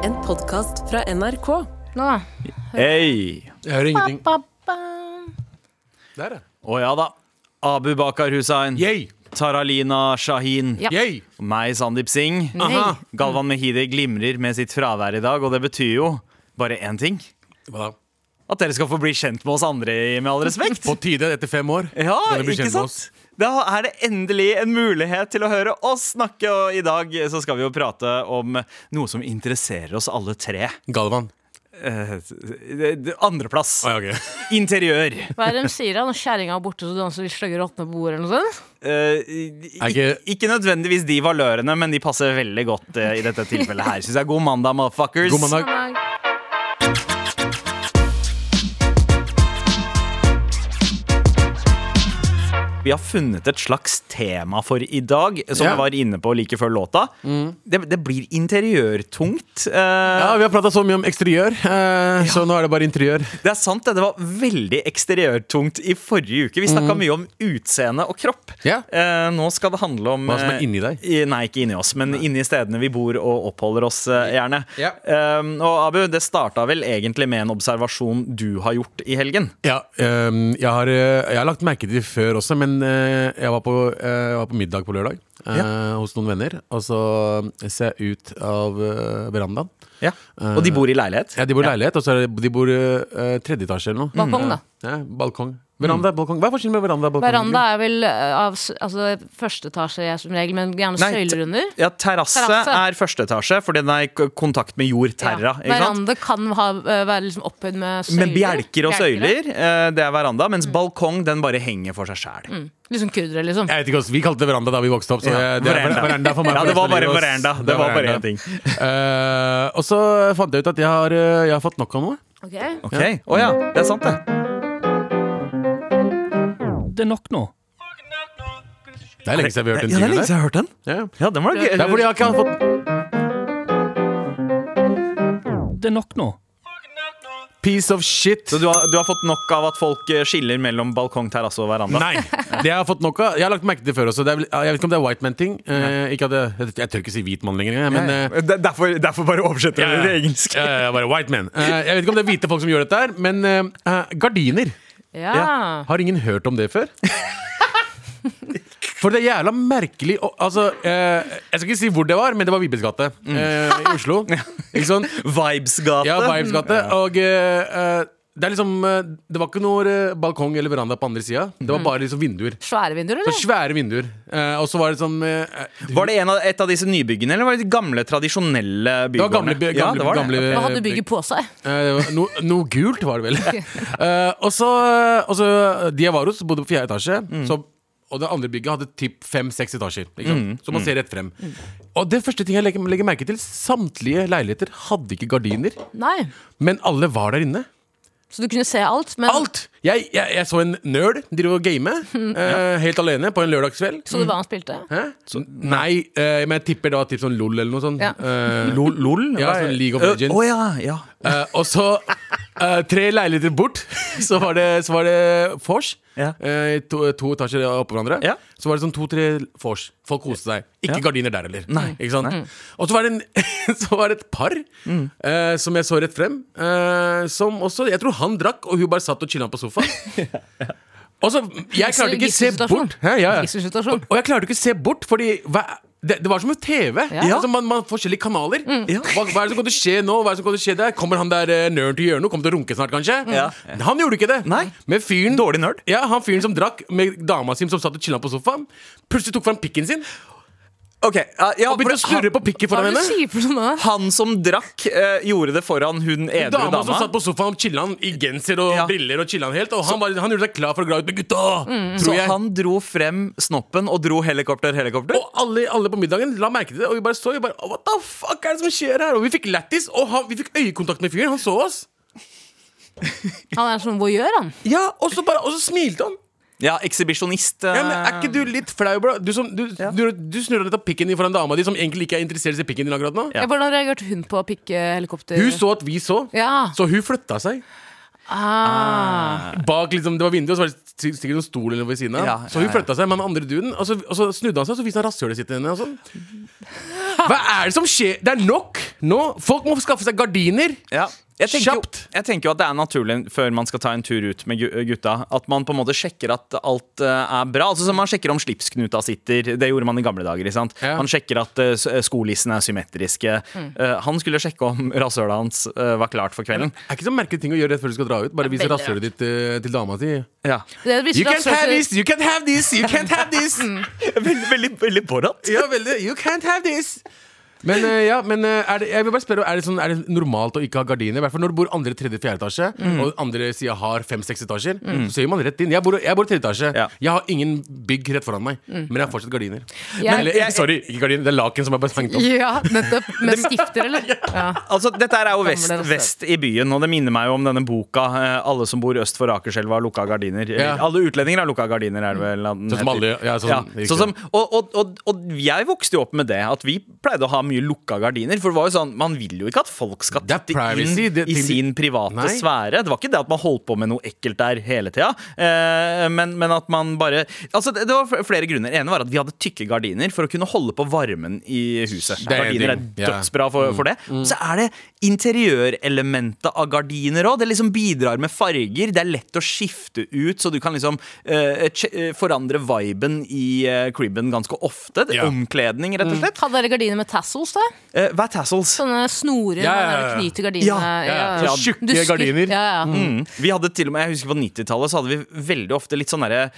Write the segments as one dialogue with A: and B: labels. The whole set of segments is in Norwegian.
A: podkast fra NRK.
B: Nå, da.
C: Hei!
D: Jeg hører ingenting.
B: Ba-ba.
D: Der, ja.
C: Å ja da. Abu Bakar Hussein.
D: Yay!
C: Taralina Shahin.
B: Ja.
D: Yay!
C: Meg, Sandeep Singh.
B: Nei.
D: Aha.
C: Galvan Mehidi glimrer med sitt fravær i dag, og det betyr jo bare én ting.
D: Hva da?
C: At dere skal få bli kjent med oss andre, med all respekt.
D: På tide etter fem år.
C: Ja,
D: Kan du bli
C: ikke
D: kjent med oss?
C: sant? Da er det endelig en mulighet til å høre oss snakke, og i dag så skal vi jo prate om noe som interesserer oss alle tre.
D: Galvan.
C: Eh, det- det- Andreplass.
D: Å, ja, ok.
C: Interiør.
B: Hva er det de sier? da? Når kjerringa er borte, så danser de sløgge rottene på bordet? eller noe sånt?
C: Eh, ikke,
D: Er ikke-
C: ikke nødvendigvis de valørene, men de passer veldig godt eh, i dette tilfellet her. Synes jeg God mandag, motherfuckers.
D: God mandag.
C: Vi har funnet et slags tema for i dag, som
D: Ja. Mm.
C: jeg var inne på like før låta. Det, det blir interiørtungt. eh,
D: Ja, Vi har prata så mye om eksteriør, eh, så nå er det bare interiør.
C: Det er sant, det. Det var veldig eksteriørtungt i forrige uke. Vi snakka mye om utseende og kropp.
D: Mm. Ja.
C: Eh, nå skal det handle om
D: Hva som er
C: eh,
D: inni deg.
C: i- Nei, ikke inni oss, men inni stedene vi bor og oppholder oss, eh, gjerne.
D: Ja.
C: Eh, og Abu, det starta vel egentlig med en observasjon du har gjort i helgen.
D: Ja, ehm, jeg, har, eh, jeg har lagt merke til det før også, men eh, jeg, var på, eh, jeg var på middag på lørdag eh, hos noen venner. Og så eh, ser jeg ut av eh, verandaen.
C: Ja. Og de bor i leilighet.
D: Ja, De bor i leilighet, og så er det, de bor i eh, tredje etasje eller noe. Mm.
B: Balkong, da.
D: Ja, balkong. Veranda, balkong. Hva er forskjellen med veranda og balkong?
B: Veranda er vel eh, av s- altså, første etasje jeg som regel, men gjerne
C: Nei,
B: søyler under.
C: Ja, terrasse,
B: Terrasse.
C: er første etasje, for den er i k- kontakt med jord, terra.
B: Ja.
C: Ikke sant?
B: Veranda kan ha, eh, være liksom opphøyd med søyler.
C: Men bjelker og
B: Bjelker, Mm. ja.
C: søyler, eh, det er veranda, mens balkong den bare henger for seg sjæl.
B: Liksom kurdere, liksom.
D: Jeg vet ikke, altså, Vi kalte det veranda da vi vokste opp. Så
C: Ja,
D: Eh, det, det er
C: veranda.
D: veranda for meg
C: Ja, det var bare
D: Resten av livet, ass.
C: veranda. Det var bare
D: veranda.
C: én ting.
D: Eh, og så fant jeg ut at jeg har, eh, jeg har fått nok av noe.
B: Ok.
C: Ok, Å ja, det er sant, det.
E: Det er nok nå.
D: Det er lenge siden vi har
C: Ja, det er
D: hørt den tingen
C: lenge siden
D: der.
C: jeg har hørt den.
D: Ja.
C: Ja, den var gøy.
D: Det er fordi jeg ikke har fått
E: Det er nok nå.
D: piece of shit.
C: Så du har, du har fått nok av at folk eh, skiller mellom balkong, terrasse og veranda?
D: Nei! Det jeg har fått nok av Jeg har lagt merke til det før også. Det er, vel- jeg vet ikke om det er white man-ting. Eh, ikke at det- jeg, jeg tør ikke si hvit mann lenger, jeg, men eh,
C: Det- Derfor, derfor bare oversetter
D: Ja,
C: vi
D: ja.
C: det engelsk.
D: Ja, ja, bare white man. Eh, jeg vet ikke om det er hvite folk som gjør dette her, men eh, eh, gardiner.
B: Ja.
D: Har ingen hørt om det før? For det er jævla merkelig og, altså, eh, Jeg skal ikke si hvor det var, men det var Vibes gate eh, i Oslo. Ikke sånn?
C: Vibesgate.
D: Ja, Vibes gate. Og eh, eh, det er liksom eh, Det var ikke noe eh, balkong eller veranda på andre sida. Det var bare liksom vinduer.
B: Svære vinduer,
D: Så
B: eller?
D: svære vinduer. Eh, og så var det sånn eh,
C: Var det en av, et av disse nybyggene, eller var det de gamle, tradisjonelle
D: Det var gamle,
C: bygårdene?
D: gamle,
C: ja, det var
D: gamle
C: det.
B: Hva hadde bygget på seg?
D: Eh, no, noe gult var det vel. Eh, og så og så- De jeg var hos, bodde på fjerde etasje. Så, og det andre bygget hadde typ fem-seks etasjer. Ikke sant? Så man ser rett frem. Og det første ting jeg legger, legger merke til, samtlige leiligheter hadde ikke gardiner.
B: Nei.
D: Men alle var der inne.
B: Så du kunne se alt, men
D: Alt! Jeg, jeg, jeg så en nerd drive og game eh, helt alene på en lørdagskveld.
B: så du hva han spilte?
D: Hæ? Nei, eh, men jeg tipper det var typ sånn LOL eller noe sånt.
B: Ja.
D: Eh,
C: Lol? lol?
D: Ja, sånn League of Legends.
C: Å ja, ja.
D: Eh, og så eh, tre leiligheter bort, så var det, så var det vors.
C: Ja.
D: Eh, to, to etasjer oppå hverandre.
C: Ja.
D: Så var det sånn to-tre vors. Folk koste seg. Ikke
C: Ja.
D: gardiner der heller.
C: Nei. Mm.
D: Ikke sant? Og så var, det en, så var det et par eh, som jeg så rett frem, eh, som også Jeg tror han drakk, og hun bare satt og chilla på sofaen. Og så, Jeg klarte ikke å se
B: Gisselsituasjon.
D: bort. Hæ, ja, ja.
B: Gisselsituasjon.
D: Og, og jeg klarte ikke å se bort, fordi hva, det, det var som en TV.
B: Ja.
D: Altså, man, man har forskjellige kanaler. Hva, hva er det som kommer til å skje nå? Hva er det som Kommer til å skje der? Kommer han der eh, nøren til å gjøre noe? Kommer til å runke snart, kanskje?
C: Ja.
D: Han gjorde ikke det.
C: Nei.
D: Men fyren
C: Dårlig nerd.
D: Ja, han fyren som drakk med dama si som satt og chilla på sofaen, plutselig tok fram pikken sin
C: Ok, ja, ja,
D: og begynte å
C: for
D: snurre
C: han,
D: på pikken
B: Hva
D: foran
B: er det du
D: henne.
B: sier for noe?
C: han som drakk, eh, gjorde det foran hun edru
D: Dama,
C: dama.
D: som satt på sofaen og chilla han i genser og
C: Ja.
D: briller og chilla han helt. Og han, var, han gjorde seg klar for å dra ut med gutta,
C: Mm. Så
D: tror jeg.
C: han dro frem snoppen og dro helikopter, helikopter?
D: Og alle, alle på middagen la merke til det, og vi bare så vi bare, What the fuck er det som skjer her? Og vi fikk lættis, og han, vi fikk øyekontakt med fyren. Han så oss.
B: Han er sånn, hvor gjør han?
D: Ja, Og så bare, og så smilte han.
C: Ja, ekshibisjonist. eh,
D: Ja, men Er ikke du litt flau, bro? Du, som, du, du, du snurra litt av pikken din foran dama di, som egentlig ikke er interessert i pikken din akkurat nå.
C: Ja.
B: Hvordan reagerte hun på pikkehelikopter?
D: Hun så at vi så,
B: Ja.
D: så hun flytta seg.
B: Ah.
D: Bak liksom, Det var vinduet, og så var det sik- sikkert noen stol eller noe ved siden av.
C: Ja, ja,
D: Så hun
C: ja.
D: flytta seg med den andre duden, og så, og så snudde han seg, og så viste han rasshølet sitt til henne. Og sånn. Hva er det som skjer? Det er nok! Nå, Folk må skaffe seg gardiner!
C: Ja. Jeg tenker, jo,
D: Kjapt.
C: jeg tenker jo at det er naturlig før man skal ta en tur ut med gu- gutta, at man på en måte sjekker at alt eh, er bra. Altså som Man sjekker om slipsknuta sitter. Det gjorde man i gamle dager. ikke sant?
D: Ja. Mm.
C: Man sjekker at eh, s- skolissene er symmetriske. Eh, han skulle sjekke om rasshølet hans eh, var klart for kvelden.
D: Det er ikke så merkelig ting å gjøre rett før du skal dra ut. Bare vise
B: veldig
D: rasshølet ditt eh, til dama si.
C: Ja.
B: Det er hvis
D: You
B: du har
D: can't have
B: søkt-
D: this! You can't have this! You can't have this!
C: Veldig, veldig, veldig Borat.
D: Ja, veldig. You can't have this! Men, eh, ja, men eh, er, det, jeg vil bare spørre, er det, sånn, er det normalt å ikke ha gardiner? I hvert fall når du bor andre, tredje, fjerde etasje,
B: Mm.
D: og andre sida har fem-seks etasjer. Så ser man rett inn. Jeg bor, jeg bor i tredje etasje.
C: Ja.
D: Jeg har ingen bygg rett foran meg, men jeg har fortsatt gardiner.
B: Mm. Jeg-
D: Eller, ikke- sorry, ikke gardiner. Det er laken som er bare hengt opp.
B: Ja, nettopp. Med stifter, eller? Ja.
C: Altså, Dette her er jo vest,
B: dere selv.
C: vest i byen, og det minner meg jo om denne boka eh, 'Alle som bor øst for Akerselva har lukka gardiner'.
D: Ja.
C: Eller, Alle utlendinger har lukka gardiner, er det vel? den
D: Sånn som
C: heter.
D: alle- ja, sånn
C: Ja,
D: som- riktig.
C: sånn som, og, og, og, og jeg vokste jo opp med det, at vi pleide å ha mye lukka gardiner. For det var jo sånn, man vil jo ikke at folk skal
D: Det er
C: titte
D: privacy,
C: inn
D: det-
C: i
D: ting-
C: sin private
D: Nei.
C: sfære. Det var ikke det at man holdt på med noe ekkelt der hele tida, eh, men, men at man bare Altså, det, det var fl- flere grunner. ene var at vi hadde tykke gardiner for å kunne holde på varmen i huset.
D: Det er en
C: Gardiner er
D: ting, ja.
C: dødsbra bra for,
B: Mm.
C: for det. Så er det interiørelementet av gardiner òg. Det liksom bidrar med farger. Det er lett å skifte ut, så du kan liksom eh, ch- eh, forandre viben i eh, cribben ganske ofte. Det,
D: Ja.
C: Omkledning, rett og slett.
B: Hadde dere gardiner med tassels, da?
C: Eh, hva er tassels?
B: Sånne snorer
D: Ja,
B: ja,
D: ja, ja.
B: man knyter gardinene
C: Ja,
D: ja, ja. Så tjukke
B: Dusker.
D: gardiner.
B: Ja, ja.
C: Mm. Vi hadde til og med, jeg husker På 90-tallet så hadde vi veldig ofte litt sånn derre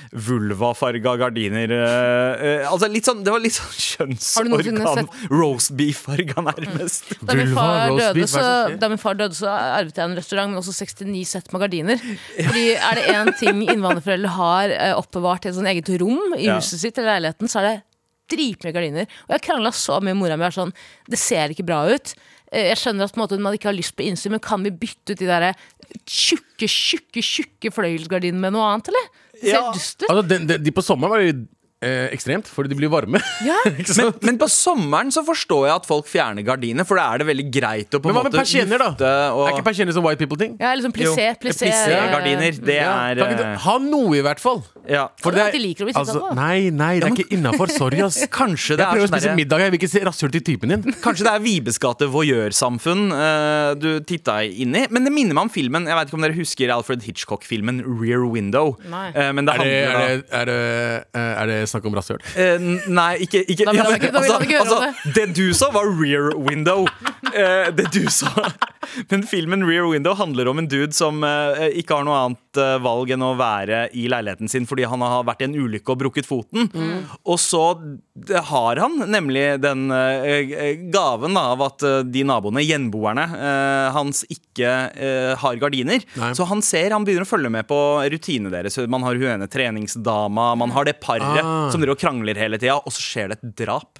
C: vulvafarga gardiner. eh, eh, altså litt sånn, Det var litt sånn
B: du noensinne
C: kjønnsorgan. Roast beef-farga, nærmest.
B: Da min,
D: Vulva,
B: far
D: roast
B: døde, så,
D: beef, hva er det som skjer?
B: da min far døde, så arvet jeg en restaurant, men også 69 sett med gardiner. Fordi Er det én ting innvandrerforeldre har eh, oppbevart i et sånt eget rom i
C: Ja.
B: huset sitt, eller leiligheten, så er det dritmye gardiner. Og jeg krangla så mye med mora mi. jeg var Sånn, det ser ikke bra ut. Eh, Jeg skjønner at på en måte, man ikke har lyst på innsyn, men kan vi bytte ut de der eh, tjukke, tjukke tjukke fløyelsgardinene med noe annet, eller? Det ser
C: Ja.
B: dust ut.
D: Altså, de, de, de på sommeren var jo eh, ekstremt, fordi de blir varme.
B: Ja.
D: Ikke
C: Men,
D: sant?
C: men på sommeren så forstår jeg at folk fjerner gardiner, for da er det veldig greit å på en
D: Men hva
C: måte
D: med persienner, da?
C: lufte og-
D: Er ikke persienner sånn white people-ting?
B: Ja, liksom
C: Jo,
B: plissé, plissé. eh,
C: plissé gardiner. Det er
D: Kan ikke du ha noe, i hvert fall.
C: eh, ja.
D: For altså,
B: Ja, de liker å bli tittet på.
D: Nei, nei, det er ikke innafor. Sorry, ass.
C: Kanskje det
D: Jeg
C: er
D: prøver å
C: sånn
D: spise
C: derre-
D: middag, jeg vil ikke se rasshøl til typen din.
C: Kanskje det er Vibes gate voyeursamfunn eh, du titta inn i. Men det minner meg om filmen Jeg vet ikke om dere husker Alfred Hitchcock-filmen Rear Window.
B: Nei.
C: Eh, men det
D: Er det,
C: handler da-
D: er det, er det, er det snakk om rasshøl?
C: Eh, n- nei, ikke, ikke altså,
B: Da vil han
C: men
B: ikke- da vil han ikke høre om
C: det du sa, var rear window. Eh, det du sa. Men filmen Rear Window handler om en dude som eh, ikke har noe annet eh, valg enn å være i leiligheten sin fordi han har vært i en ulykke og brukket foten. Og så d- har han nemlig den eh, gaven da, av at eh, de naboene, gjenboerne eh, hans, ikke eh, har gardiner.
D: Nei.
C: Så han ser, han begynner å følge med på rutinene deres. Man har hun ene treningsdama, man har det paret
D: Ah.
C: som driver og krangler hele tida, og så skjer det et drap.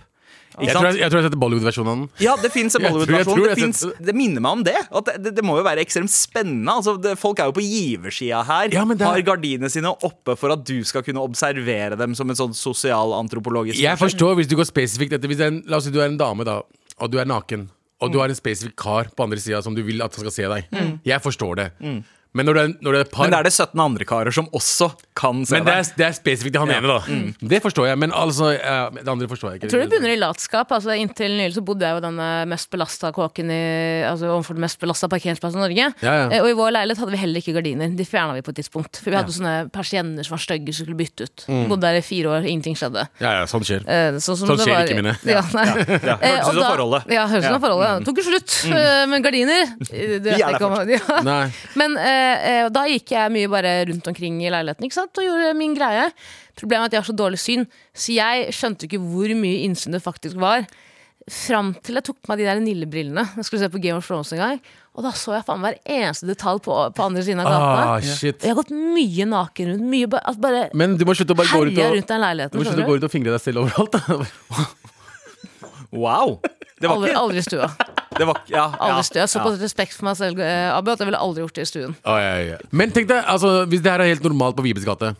C: Ikke
D: Jeg
C: sant?
D: tror jeg, jeg tror jeg setter Bollywood-versjonen av den.
C: Ja, det fins en
D: Jeg tror- jeg
C: Bollywood-versjon.
D: tror
C: Det,
D: jeg
C: finnes-
D: setter-
C: det minner meg om det. At det, det, det må jo være ekstremt spennende. Altså, det, folk er jo på giversida her.
D: Ja, men det er-
C: Har gardinene sine oppe for at du skal kunne observere dem som en sånn sosialantropologisk
D: Jeg forstår hvis du går spesifikt etter hvis det er en, La oss si du er en dame, da, og du er naken. Og du har en spesifikk kar på andre sida som du vil at skal se deg.
B: Mm.
D: Jeg forstår det. Mm. Men når det er, når det er et par
C: Men det er det 17 andre karer som også kan se
D: Men det
C: deg.
D: er, Mm. det er spesifikt til han ene, da. Det forstår jeg, men altså eh, Det andre forstår jeg ikke.
B: Jeg tror det begynner i latskap. Altså, inntil nylig så bodde jeg jo den eh, mest belasta kåken i, altså, overfor den mest belasta parkeringsplassen i Norge.
D: Ja, ja.
B: Eh, Og i vår leilighet hadde vi heller ikke gardiner. De fjerna vi på et tidspunkt. For vi hadde sånne persienner som var stygge, som skulle bytte ut. Bodde der i fire år, ingenting skjedde.
D: Ja, ja, sånn skjer.
B: Eh, Sånn som
D: Mm. Sånn
B: det
D: skjer
B: var-
D: ikke, mine.
B: Ja, nei.
C: ja.
B: Eh, og
C: Hørtes ut som
B: da-
C: forholdet.
B: Ja, hørtes ut
C: Ja. Mm.
B: som forholdet. ja. Det tok jo slutt. eh, Men gardiner eh, Det vet
C: er
B: jeg ikke om. Ja.
D: Nei.
B: Men eh, eh, da gikk jeg mye bare rundt omkring i leiligheten ikke sant? og gjorde min greie. Problemet er at jeg har så dårlig syn, så jeg skjønte ikke hvor mye innsyn det faktisk var. Fram til jeg tok på meg de der Nille-brillene. Jeg skulle se på Game of Thrones en gang. Og da så jeg faen hver eneste detalj på, på andre siden av
D: Ah,
B: gata.
D: shit.
B: jeg har gått mye naken rundt. Mye ba- altså bare
D: Men du må slutte å bare gå ut
B: herja
D: og
B: rundt den
D: du må
B: leiligheten.
D: slutte å
B: skjønner
D: gå
B: du?
D: ut og fingre deg selv overalt. da
C: Wow! Det var
B: Aldri,
C: ikke,
B: aldri i stua.
C: det var, ja,
B: Aldri
C: ja,
B: i stua. Jeg har
C: ja.
B: Såpass respekt for meg selv, eh, Abu, at jeg ville aldri gjort det i stuen.
D: Men tenk deg, altså, hvis det her er helt normalt på Vibes gate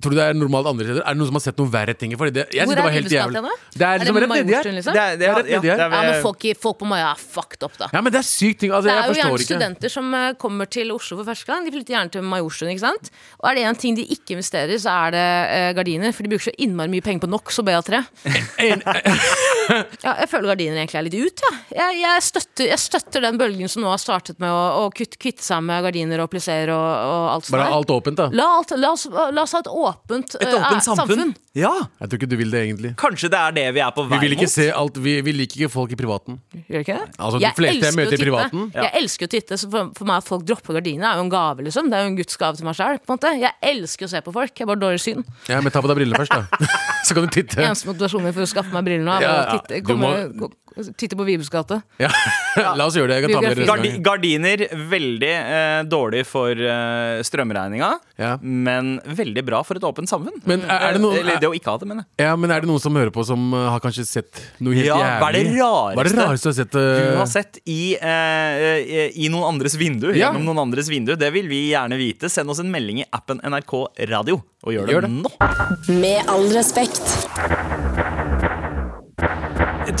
D: Tror du det er normalt andre steder? Er det noen som har sett noen verre ting? Fordi det, jeg
B: Hvor
D: synes det
B: er
D: var helt
B: Vindusgata
D: jævlig.
B: da?
D: Det er liksom
B: det
D: rett nedi her.
B: Majorstuen,
C: Det er, det er,
D: Ja,
C: ja, det
D: det er-
C: er,
B: Ja, men folk, i- folk på Maja er fucked up, da.
D: Ja, men det er sykt ting. Altså,
B: Det er
D: jeg
B: jo gjerne
D: forstår ikke.
B: studenter som eh, kommer til Oslo for første gang. De flytter gjerne til Majorstuen. ikke sant? Og er det én ting de ikke investerer, så er det eh, gardiner. For de bruker så innmari mye penger på NOx og BA3.
D: En,
B: Ja, jeg føler gardiner egentlig er litt ut, ja. jeg. Jeg støtter, jeg støtter den bølgen som nå har startet med å, å kutt, kvitte seg med gardiner og plisser og, og alt sånt.
D: bare
B: der.
D: alt åpent, da.
B: La, alt, la, oss, la oss ha et åpent,
C: et
B: eh,
C: åpent samfunn. Ja,
D: Jeg tror ikke du vil det, egentlig.
C: Kanskje det er det vi er på vei
D: Vi vil ikke
C: mot.
D: se alt Vi, vi liker ikke folk i privaten.
B: Gjør ikke det?
D: Altså, de fleste jeg
B: elsker
D: møter i
B: å titte.
D: privaten.
B: Jeg elsker å titte, så for, for meg at folk dropper gardinene er jo en gave, liksom. Det er jo en guds gave til meg selv, på en måte. Jeg elsker å se på folk, jeg har bare dårlig syn.
D: Ja, men ta på deg brillene først, da. Så kan du titte.
B: Eneste motivasjonen min for å skaffe meg briller nå, er
D: Ja,
B: bare
D: ja.
B: å titte,
D: Du
B: komme,
D: må-
B: gå- titte på Vibes gate.
D: Ja. La oss gjøre det. Jeg kan ta med dere neste
C: Gardi
D: gang.
C: gardiner veldig eh, dårlig for eh, strømregninga,
D: Ja.
C: men veldig bra for et åpent samfunn.
D: Men er, er det noen
C: Eller det å ikke ha det, mener jeg.
D: Ja, men er det noen som hører på som eh, har kanskje sett noe helt
C: Ja,
D: jævlig?
C: hva er det rareste
D: Hva er det rareste du har sett?
C: Du har
D: eh,
C: sett i, eh, eh, i noen andres vindu.
D: Ja.
C: Gjennom noen andres vindu. Det vil vi gjerne vite. Send oss en melding i appen NRK Radio, og gjør det,
D: Gjør det.
C: nå.
A: Med all respekt.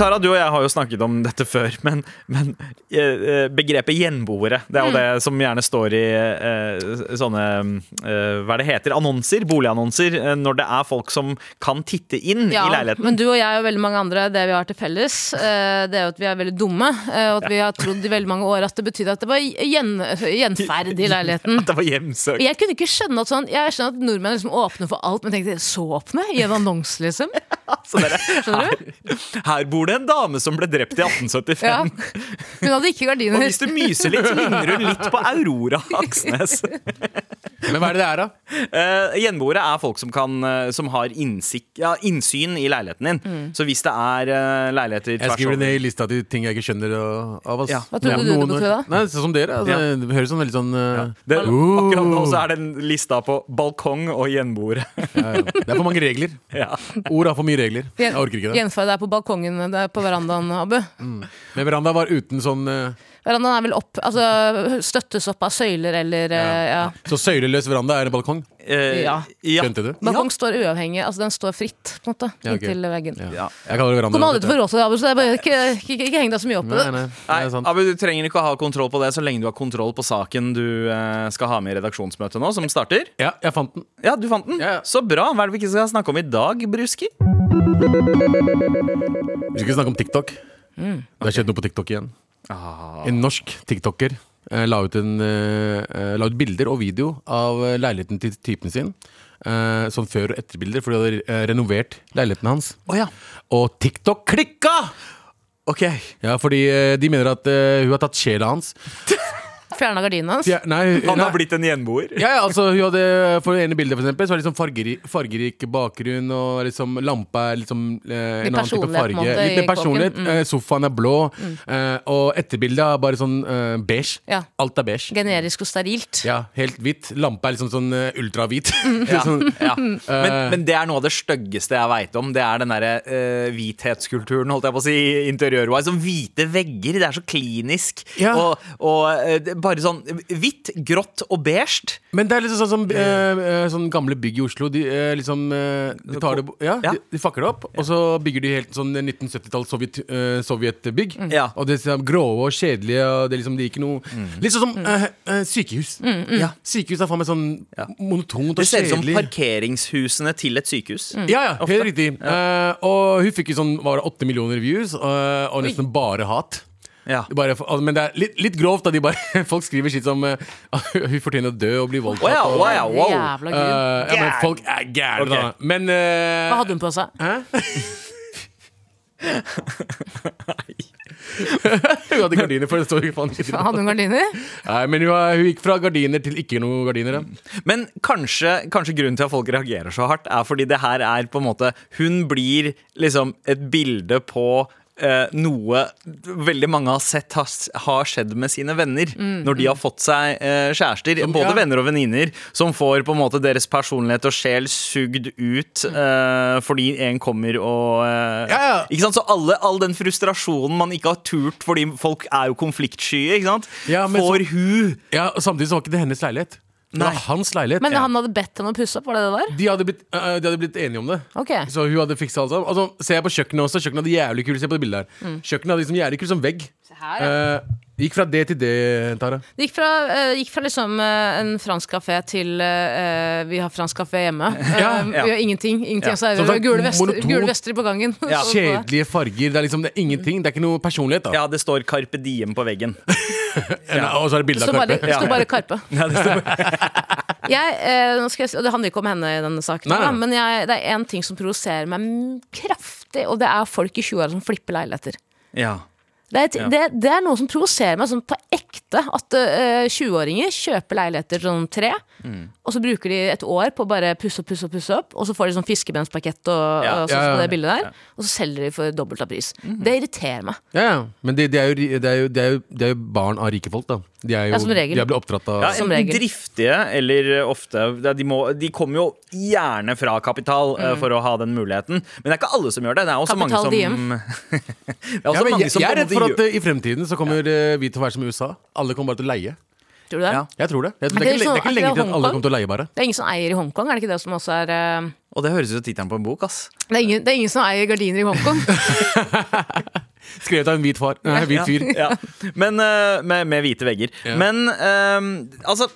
C: Tara, du og jeg har jo snakket om dette før, men, men eh, eh, begrepet gjenboere Det er
B: Mm.
C: jo det som gjerne står i eh, sånne eh, Hva er det heter? Annonser? Boligannonser. eh, når det er folk som kan titte inn
B: Ja,
C: i leiligheten.
B: men du og jeg og veldig mange andre, det vi har til felles, eh, det er jo at vi er veldig dumme, eh, og at vi har trodd i veldig mange år at det betydde at det var gjen, gjenferd i leiligheten.
C: At det var hjemsøkt.
B: Jeg kunne ikke skjønne at sånn Jeg skjønner at nordmenn liksom åpner for alt, men tenkte så åpne? I en annonse, liksom?
C: Så dere,
B: Skjønner
C: her, her bor det en dame som ble drept i 1875.
B: Ja. Hun hadde ikke
C: Og
B: gardiner.
C: hvis du myser litt, så ligner hun litt på Aurora Aksnes.
D: Men hva er det det er, da?
C: Eh, gjenboere er folk som, kan, eh, som har innsikt, ja, innsyn i leiligheten din.
B: Mm.
C: Så hvis det er eh, leiligheter
D: Jeg skriver det
C: over-
D: ned i lista til ting jeg ikke skjønner og- av oss.
C: Ja.
B: Hva trodde du det betød da?
D: Nei, sånn som dere. Altså, Det høres sånn veldig sånn eh,
C: det,
D: Oh.
C: Akkurat nå så er den lista på balkong og gjenboere.
D: Uh, ja, ja. Det er for mange regler.
C: ja.
D: Ord har for mye regler. Jeg
B: Gjen-
D: orker ikke det.
B: Gjenferd er på balkongen, det er på verandaen, Abu.
D: Men veranda var uten sånn eh,
B: Verandaen er vel opp, altså støttes opp av søyler eller eh, ja.
D: Så søyleløs veranda er en balkong.
C: Eh,
B: Ja.
D: Skjønte du?
B: Balkong står uavhengig, altså den står fritt, på en måte,
D: Ja, ok.
B: inntil veggen.
C: Ja.
D: Jeg kaller det veranda.
B: Kommer aldri til å få råd til det, Abu, så det er bare, ikke, ikke, ikke, ikke heng deg så mye opp i
D: Nei,
B: det.
D: nei, det
C: Nei,
D: er sant.
C: Abu, Du trenger ikke å ha kontroll på det så lenge du har kontroll på saken du eh, skal ha med i redaksjonsmøtet nå, som starter.
D: Ja, jeg fant den.
C: Ja, du fant den.
D: Ja, ja.
C: Så bra. Hva er det vi ikke skal snakke om i dag, Bruski?
D: Vi skal snakke om TikTok.
B: Mm.
D: Det har skjedd noe på TikTok igjen. En norsk tiktoker eh, la, ut en, eh, eh, la ut bilder og video av eh, leiligheten til typen sin. eh, sånn før- og etterbilder, for de hadde eh, renovert leiligheten hans.
C: Å ja.
D: Og TikTok klikka!
C: Ok.
D: Ja, fordi eh, de mener at eh, hun har tatt sjela hans.
B: Fjerna gardinene hans.
D: Ja, nei, hun-
C: Han
D: nei.
C: har blitt en gjenboer.
D: Ja, ja, altså hun hadde For det ene bildet for eksempel Så var det liksom fargerik, fargerik bakgrunn Og liksom lampa er liksom eh,
B: Litt
D: En annen type
B: personlighet, på en
D: farge
B: måte,
D: Litt mer
B: i Mm.
D: personlighet
B: kåken.
D: eh, Sofaen er blå eh, Og etterbildet er bare sånn eh, beige
B: Ja.
D: Alt er beige
B: Generisk og sterilt.
D: Ja, helt hvitt Lampa er liksom sånn eh, ultrahvit
C: Mm. Ja,
D: sånn,
C: ja. Men, men det er noe av det styggeste jeg veit om. Det er den derre eh, hvithetskulturen, holdt jeg på å si, interiørwise. Som hvite vegger. Det er så klinisk.
D: Ja.
C: Og, og eh, det- bare sånn hvitt, grått og beige.
D: Men det er liksom sånn som eh, eh, sånn gamle bygg i Oslo. De, eh, liksom, eh, de, tar det, ja,
C: Ja.
D: De, de fucker det opp, og så bygger de helt sånn 1970-tall sovjet, eh, sovjetbygg.
C: Mm. Ja. Mm.
D: Og det er sånn grå og kjedelige. Og det er liksom, det er ikke noe Litt sånn som eh, eh, sykehus. Ja, sykehus er faen meg sånn
C: Ja.
D: monotont og
C: Det ser ut som
D: kjedelig.
C: parkeringshusene til et sykehus.
D: Ja, ja, helt riktig. Eh, og hun fikk jo sånn var det åtte millioner views, og, og nesten bare hat.
C: Ja.
D: Det Bare, altså, men det er litt, litt grovt da de bare, folk skriver shit som eh, hun fortjener å dø og bli voldtatt.
C: Wow,
D: og-
C: wow, wow.
B: Jævla gud.
D: Eh, ja, men
C: Gæren.
D: folk er gærne,
C: Ok.
D: da. Men eh,
B: Hva hadde hun på seg?
D: hun hadde gardiner, for det står jo faen ikke
B: Hadde hun gardiner?
D: Nei, men hun, har- hun gikk fra gardiner til ikke noe gardiner. Da.
C: Men kanskje, kanskje grunnen til at folk reagerer så hardt, er fordi det her er på en måte Hun blir liksom et bilde på eh, noe veldig mange har sett har, har skjedd med sine venner når de har fått seg eh, kjærester. både
D: Mm, ja.
C: venner og venninner som får på en måte deres personlighet og sjel sugd ut eh, fordi en kommer og eh,
D: Mm. Ja, ja.
C: Ikke sant? Så alle, all den frustrasjonen man ikke har turt fordi folk er jo konfliktsky, ikke sant?
D: Ja, men så-
C: får hun
D: Ja, og Samtidig så var ikke det hennes leilighet. Det var hans leilighet.
B: Men
D: Ja.
B: han hadde bedt henne å pusse opp, var det det var?
D: de, hadde blitt, øh, de hadde blitt enige om det.
B: Ok.
D: Så hun hadde fiksa alt sammen. Altså, ser jeg på kjøkkenet også. Kjøkkenet hadde jævlig kul, se på det bildet her. Kjøkkenet hadde liksom jævlig kul som vegg.
B: Mm. her,
D: Eh, gikk fra det til det, Tara.
B: Det gikk fra, eh, gikk fra liksom eh, en fransk kafé til eh, vi har fransk kafé hjemme.
D: Ja,
B: Eh,
C: ja.
B: Vi har ingenting. ingenting
C: Ja.
B: Så er
D: Som
B: det
D: sagt,
B: gule, vester,
D: monotont.
B: gule vester på gangen.
C: Ja.
B: Så-
D: Kjedelige farger. Det er liksom det er ingenting. Det er ikke noe personlighet. da
C: Ja, det står Carpe Diem på veggen.
D: Eller- Og så er det bilde
B: Så
D: av
B: bare,
D: Karpe.
B: det står
C: Ja.
B: bare Karpe. jeg, eh, nå skal jeg, si- og det handler ikke om henne i denne saken,
D: Nei, nei.
B: da, men jeg, det er én ting som provoserer meg mm, kraftig, og det er folk i 20-åra som flipper leiligheter.
C: Ja.
B: Det er, et- det, det er noe som provoserer meg sånn på ekte. At eh, 20-åringer kjøper leiligheter sånn tre,
D: Mm.
B: og så bruker de et år på å bare pusse opp, pusse opp, pusse opp, og så får de sånn fiskebensparkett og,
C: Ja.
B: og sånn
D: Ja, ja,
B: som
D: ja. Mhm.
B: det bildet der, og så selger de for dobbelt av pris. Det irriterer meg.
D: Ja, ja. Men det, det, er jo, ri- det, er jo, det, er jo, det er jo barn av rike folk, da. De er jo,
B: Ja, som regel.
D: De er blitt oppdratt av
C: Ja,
B: Som
C: enten
B: regel.
C: driftige eller eh, ofte det er- De, må, de kommer jo gjerne fra kapital eh, for å ha den muligheten. Men det er ikke alle som gjør det. Det er også
B: Mm. Kapital
C: mange som
B: Diem.
C: Det er også
B: altså
D: Ja, men
C: mange
D: jeg,
C: som
D: jeg
C: på
D: er
C: en
D: redd for
C: måte
D: at eh, i fremtiden så kommer eh, vi til å være som USA. Alle kommer bare til å leie.
B: Tror du det?
C: Ja.
D: Jeg tror det. Jeg tror
B: Men det er
D: det, er ikke, le- det er
B: sånn-
D: ikke lenge
B: akkurat
D: til at alle
B: Hongkong.
D: kommer til å leie, bare.
B: Det er ingen som eier i Hongkong, er det ikke det som også er eh,
C: gjør- Og det høres ut som tittelen på en bok, ass.
B: det er, ingen, det er ingen som eier gardiner i Hongkong.
D: Skrevet av en hvit far. Nei, hvit fyr.
C: ja. Men, eh, med, med hvite vegger.
D: Ja.
C: Men eh, altså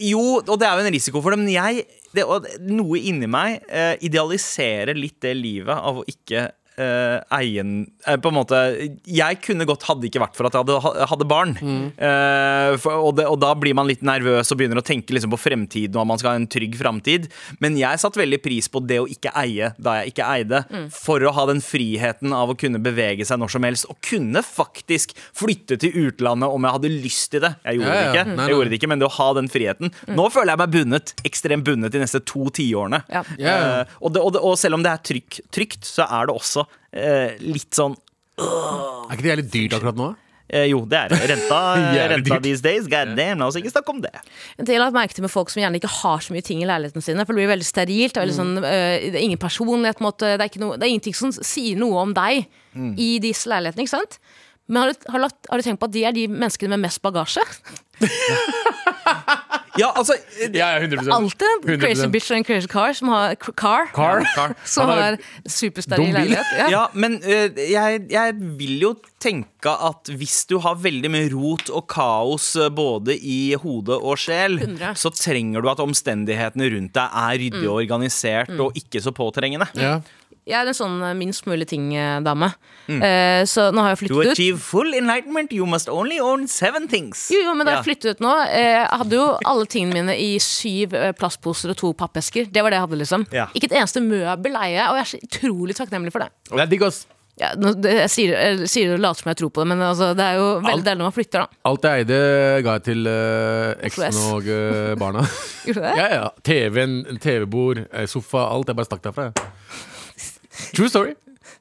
C: Jo, og det er jo en risiko for det, men jeg det, og Noe inni meg eh, idealiserer litt det livet av å ikke eh, eie en eh, På en måte Jeg kunne godt hadde det ikke vært for at jeg hadde, ha- hadde barn. Eh, for, og, det, og da blir man litt nervøs og begynner å tenke liksom, på fremtiden og at man skal ha en trygg fremtid. Men jeg satte veldig pris på det å ikke eie da jeg ikke eide, for å ha den friheten av å kunne bevege seg når som helst. Og kunne faktisk flytte til utlandet om jeg hadde lyst til det. Jeg gjorde
D: Ja, ja.
C: det
D: Mm.
C: ikke.
D: Nei,
C: Jeg
D: nei.
C: gjorde det ikke, men det å ha den friheten. Nå føler jeg meg bundet, ekstremt bundet, de neste to tiårene.
B: Ja.
D: Ja.
C: Eh, og, det- og, det- og selv om det er trykk, trygt, så er det også eh, litt sånn
D: Er ikke det jævlig dyrt akkurat nå?
C: eh, Jo, det er det. Renta, eh,
D: Jævlig
C: renta
D: dyrt.
C: these days. God damn, la oss ikke snakke om det.
B: En del har jeg merket det med folk som gjerne ikke har så mye ting i leiligheten sine. For det blir veldig sterilt. Det er, veldig
D: Mm.
B: sånn, øh, det er ingen personlighet. på en måte, Det er, ikke noe, det er ingenting som sier noe om deg
D: Mm.
B: i disse leilighetene. ikke sant? Men har du, har, du lagt, har du tenkt på at de er de menneskene med mest bagasje?
C: Ja, altså eh,
D: Ja, 100
B: Alltid en crazy bitch og en crazy car som har k- car, som
D: Han har
B: har supersteril
D: dum bil.
B: leilighet. Ja.
C: Ja, men eh, jeg, jeg vil jo tenke at hvis du har veldig mye rot og kaos eh, både i hode og sjel,
B: 100.
C: så trenger du at omstendighetene rundt deg er ryddig og organisert og ikke så påtrengende.
D: Ja.
B: Jeg er en sånn øh, minst mulig ting-dame.
D: Mm.
B: Eh, så nå har jeg
C: To
B: flyttet ut.
C: achieve full enlightenment, you must only own seven things.
B: Jo, jo, men da
C: Ja.
B: jeg flyttet ut nå, eh, jeg hadde jo alle tingene mine i syv eh, plastposer og to pappesker. Det var det jeg hadde, liksom.
C: Ja.
B: Ikke et eneste møbel eier jeg, og jeg er så utrolig takknemlig for det.
D: Det er digg, ass.
B: Ja, nå, det jeg sier, jeg sier det og later som jeg tror på det, men altså, det er jo
D: Alt-
B: veldig deilig når man flytter, da.
D: Alt jeg eide, ga jeg til eh, eksen
B: S.
D: og eh, barna.
B: Gjorde du det?
D: ja, ja. TV-en, TV-bord, eh, sofa, alt. Jeg bare stakk derfra. jeg. True story.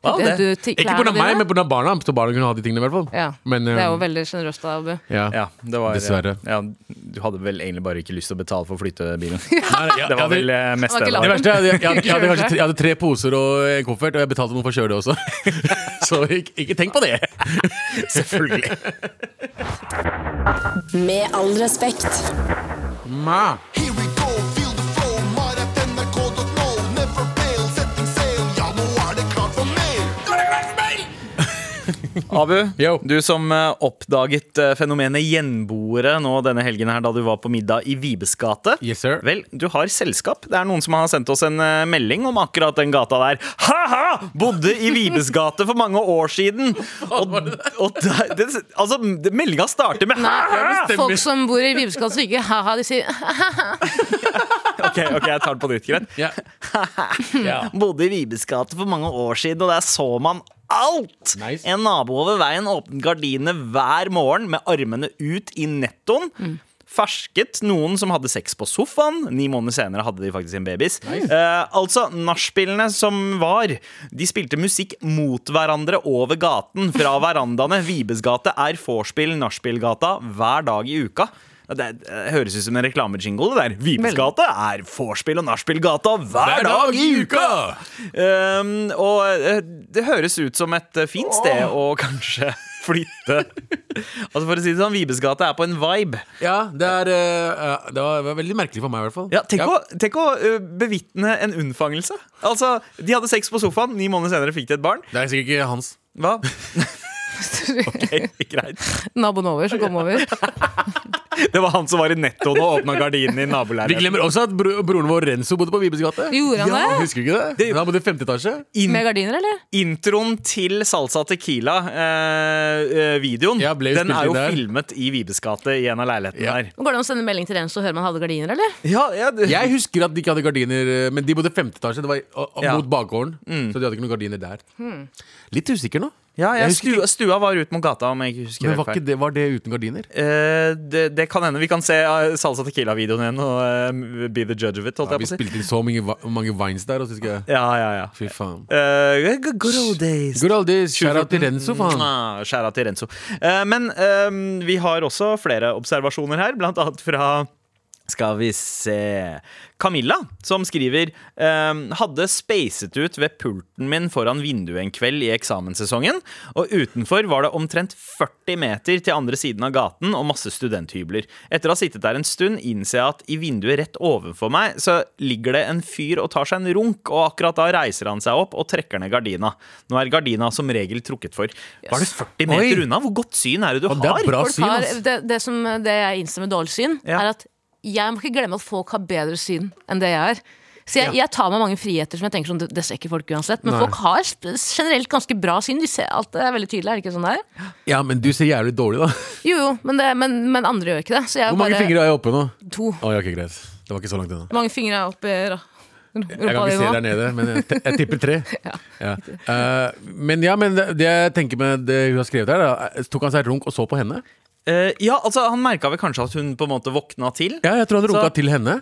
C: Wow,
B: Det-
C: det.
B: Eh, du- til
D: Ikke
B: klærne
D: pga. meg,
B: dine?
D: men pga. barna. Så barna kunne ha de tingene, i hvert fall.
B: ja.
D: Men, eh,
B: Det er jo veldig sjenerøst av Abu.
D: ja.
C: Ja, det var,
D: Dessverre.
C: Ja, du hadde vel egentlig bare ikke lyst til å betale for å flytte bilen.
D: Nei, ja,
C: Det var
D: ja, det-
C: vel eh, mest
B: Det var ikke
C: det. da.
D: Det
B: lavt.
D: verste er at jeg, jeg, jeg, hadde
B: Kjører
D: kanskje,
B: det.
D: jeg hadde tre poser og en koffert, og jeg betalte noen for å kjøre det også. Så ikke, ikke tenk på det. Selvfølgelig.
A: Med all respekt.
D: Ma.
F: Here we go, feel the flow, mar.nrk.no. Never fail, setting sail. Ja, nå er det klart for mer. Nå er det klart for mer!
C: Abu,
D: Yo.
C: du som eh, oppdaget eh, fenomenet gjenboere nå denne helgen her da du var på middag i Vibes gate.
D: Yes, sir.
C: Vel, du har selskap. Det er noen som har sendt oss en eh, melding om akkurat den gata der. Ha-ha! Bodde i Vibes gate for mange år siden. Og, og der, det, altså, meldinga starter med ha-ha!
B: Folk som bor i Vibeskans syke, ha-ha, de sier
C: Ok, ok, jeg tar det på nytt, greit.
D: Ja. Ja.
C: Bodde i Vibes gate for mange år siden, og der så man alt!
D: Nice.
C: En nabo over veien åpnet gardinene hver morgen med armene ut i nettoen. Fersket noen som hadde sex på sofaen. Ni måneder senere hadde de faktisk en babys. Eh, altså, nachspielene som var, de spilte musikk mot hverandre over gaten. Fra verandaene. Vibes gate er vorspiel Nachspielgata hver dag i uka. Det, er- det høres ut som en reklamejingle. det der Vibes gate er vorspiel og nachspielgata hver dag i uka! Ehm, Um, og eh, det høres ut som et eh, fint sted å kanskje flytte. Altså For å si det sånn, Vibes gate er på en vibe.
D: Ja, det, er, eh, det var veldig merkelig for meg, i hvert fall.
C: Ja, tenk,
D: Ja.
C: Å, tenk å ø, bevitne en unnfangelse. Altså, De hadde sex på sofaen, ni måneder senere fikk de et barn.
D: Det er sikkert ikke hans.
C: Hva? Ok, greit
B: Naboen over som kom over.
C: Det var han som var i nettoen og åpna gardinene i
D: Vi
C: naboleiligheten.
D: glemmer også at bro broren vår Renzo bodde på Vibes gate.
B: Gjorde han
D: ja,
B: det?
D: Husker du ikke det? Han bodde i femte etasje.
C: In
B: Med gardiner, eller?
C: introen til Salsa Tequila-videoen
D: Ja, ble jo
C: Den
D: spilt
C: er jo
D: inn der.
C: filmet i Vibes gate i en av leilighetene
D: Ja.
C: der.
B: Går det an å sende melding til Renzo og høre om han hadde gardiner, eller?
C: Ja, ja, det-
D: Jeg husker at de ikke hadde gardiner, eh, men de bodde i femte etasje. Det var og, og,
C: Ja.
D: mot bakgården, så de hadde ikke noen gardiner der.
B: Hmm.
D: Litt usikker nå.
C: ja jeg,
D: husker
C: stua, stua var ut mot gata, om jeg ikke husker
D: Men
C: helt
D: var,
C: feil.
D: ikke det, var det uten gardiner?
C: Eh, det, det kan hende. Vi kan se eh, Salsa Tequila-videoen igjen og eh, be the judge of it. Holdt
D: Ja,
C: jeg
D: vi
C: på å si.
D: spilte inn så mange, vi- mange vines der, og så husker jeg
C: Ja, ja, ja.
D: Fy faen.
C: Eh, good- good old days.
D: Good old days. Shout out til Mm. Renzo, faen.
C: Ah, Skjæra til Renzo. Eh, men eh, vi har også flere observasjoner her, blant annet fra skal vi se Camilla, som skriver ehm, Hadde spacet ut ved pulten min foran vinduet en kveld i eksamenssesongen, og utenfor var det omtrent 40 meter til andre siden av gaten og masse studenthybler. Etter å ha sittet der en stund, innser jeg at i vinduet rett ovenfor meg så ligger det en fyr og tar seg en runk, og akkurat da reiser han seg opp og trekker ned gardina. Nå er gardina som regel trukket for. Var det 40 meter
D: Oi.
C: unna? Hvor godt syn er det du
D: Og det
C: har?
D: er bra
B: Folk
D: syn,
B: har,
D: ass.
B: det, det, som, det jeg innser med dårlig syn,
C: Ja.
B: er at jeg må ikke glemme at folk har bedre syn enn det jeg er. Så jeg, jeg tar meg mange friheter som jeg tenker sånn, det, det ser ikke folk uansett. Men
D: Nei.
B: folk har sp- generelt ganske bra syn. De ser alt det er veldig tydelig, er det ikke sånn det er?
D: Ja, men du ser jævlig dårlig, da.
B: Jo, jo, men, det, men, men andre gjør ikke det. Så jeg
D: Hvor mange
B: bare
D: fingre har jeg oppe nå?
B: to.
D: Å, ja, ok, greit. Det var ikke så langt unna.
B: Hvor mange fingre er oppi ra-
D: Jeg
B: rumpa
D: kan
B: di
D: ikke se
B: nå?
D: der nede, men jeg, t- jeg tipper tre. ja. Eh, men ja, men det, det jeg tenker med det hun har skrevet her, da, eh, tok han seg et runk og så på henne?
C: Eh, ja, altså Han merka vel kanskje at hun på en måte våkna til.
D: Ja, jeg tror han runka
C: Så-
D: til henne.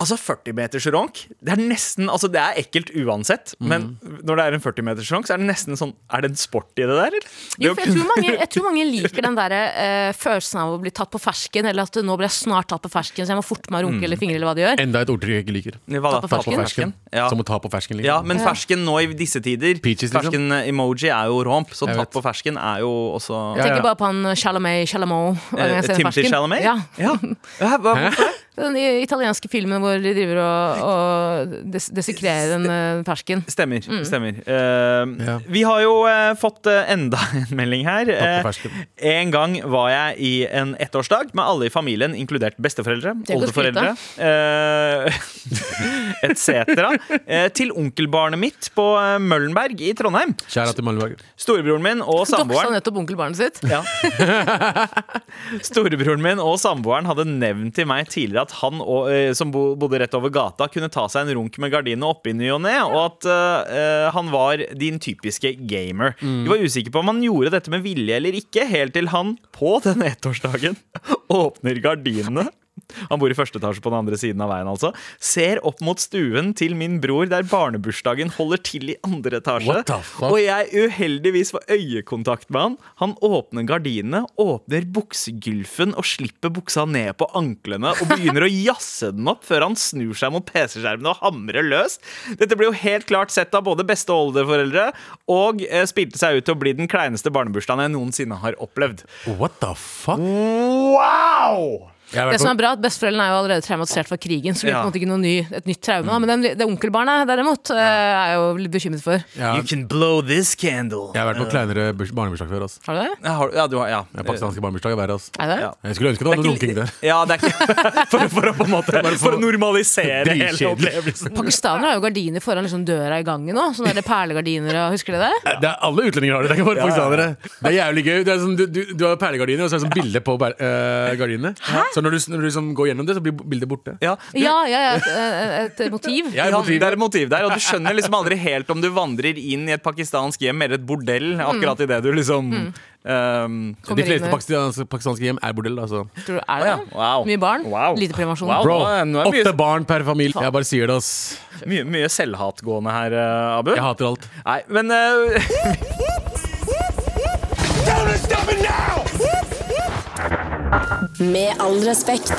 C: Altså 40 meters ronk Det er nesten, altså det er ekkelt uansett Men
D: Mm.
C: når det er en 40 meters ronk Så er det nesten sånn, er det en sport i det der? Eller? Det
B: Jo,
C: å
B: for jeg tror,
C: kunne-
B: mange, jeg tror mange liker den der, eh, følelsen av å bli tatt på fersken, eller at nå blir jeg snart tatt på fersken, så jeg må forte meg å runke eller fingre eller hva de gjør.
D: Enda et ordtrykk jeg ikke liker.
C: Hva da?
B: Ta på
D: Ta på
B: Fersken?
D: fersken.
C: Ja.
D: Som å ta på fersken. Liksom.
C: ja, men fersken nå i disse tider
D: Peaches, liksom.
C: Fersken-emoji er jo romp Så
D: Jeg
C: tatt
D: vet.
C: på fersken er jo også
D: Ja,
B: Tenker bare
D: ja.
B: på han Chalamet, Chalamot. hver gang
C: eh,
B: jeg ser en
C: Timothy
B: fersken.
C: Chalamet
B: Ja.
C: ja. Hæ, hva,
D: Hæ?
C: hvorfor det?
B: Den i- italienske filmen hvor de driver og, og des desikrerer en eh, fersken.
C: Stemmer, stemmer Eh,
D: Ja.
C: Vi har jo eh, fått eh, enda en melding her
D: på
C: Eh,
D: fersken.
C: En gang var jeg i en ettårsdag med alle i familien, inkludert besteforeldre,
B: å
C: oldeforeldre eh, etc. Eh, til onkelbarnet mitt på eh, Møllenberg i Trondheim.
D: Kjære til Malmberg.
C: Storebroren min og
B: Doksa
C: samboeren
B: nettopp onkelbarnet sitt.
C: ja. Storebroren min og samboeren hadde nevnt til meg tidligere at han og, eh, som bo, bodde rett over gata, kunne ta seg en runk med gardinene oppe i ny og ne, og at eh, eh, han var din typiske gamer.
D: Mm.
C: Vi var usikre på om han gjorde dette med vilje eller ikke, helt til han på denne ettårsdagen åpner gardinene. Han bor i første etasje på den andre siden av veien, altså. Ser opp mot stuen til min bror, der barnebursdagen holder til i andre etasje.
D: What the fuck?
C: Og jeg uheldigvis får øyekontakt med han. Han åpner gardinene, åpner buksegylfen og slipper buksa ned på anklene og begynner å jazze den opp før han snur seg mot PC-skjermen og hamrer løs. Dette ble jo helt klart sett av både beste- og oldeforeldre og eh, spilte seg ut til å bli den kleineste barnebursdagen jeg noensinne har opplevd.
D: What the fuck?
C: Wow!
D: Jeg har
B: Det
D: vært
B: som
D: på,
B: er bra, at Besteforeldrene er jo allerede traumatisert fra krigen, så det blir
C: Ja. Mm.
B: på en måte ikke noe ny, et nytt traume. da. Men den, det onkelbarnet derimot eh, er jeg jo litt bekymret for.
D: ja,
C: You can blow this candle.
D: jeg har vært på kleinere burs- barnebursdag før. Altså.
B: Har du det?
C: Ja, har du- ja, du har, ja.
D: Ja, pakistanske barnebursdag er verre. Altså.
B: Er det?
C: Ja.
D: Jeg skulle ønske det var noe
C: Det er
D: runking
C: ikke-
D: der.
C: Ja, det er ikke for, for å på en måte For å normalisere hele
D: Dritkjedelig.
C: opplevelsen.
B: Pakistanere har jo gardiner foran liksom døra i gangen òg. Sånne der perlegardiner og Husker dere det?
D: Det er Alle utlendinger har det. Det er ikke bare
C: Ja, ja, ja.
D: pakistanere. Det er jævlig gøy. Det er sånn, du, du, du har perlegardiner, og så er det sånn bilde på per- eh, gardinene. Så når du, når du liksom går gjennom det, så blir bildet borte.
C: Ja,
B: Ja, ja, ja et, eh, et, et motiv.
D: Jeg er
C: Ja,
D: motivet.
C: det er et motiv der, og du skjønner liksom aldri helt om du vandrer inn i et pakistansk hjem eller et bordell akkurat i det du liksom ehm,
B: Kommer
D: De
B: inn
D: fleste
B: med-
D: pakistanske, pakistanske hjem er bordell. Altså.
B: Tror du, er
C: Å
B: det
C: ja,
B: det?
C: wow.
B: Mye barn?
C: Wow.
B: Lite prevensjon?
C: Wow.
D: Bro,
C: nå er det mye-
D: åtte barn per familie. Jeg bare sier det, ass.
C: mye, mye selvhatgående her, eh, Abu.
D: Jeg hater alt.
C: Nei, men eh,
A: Med all respekt.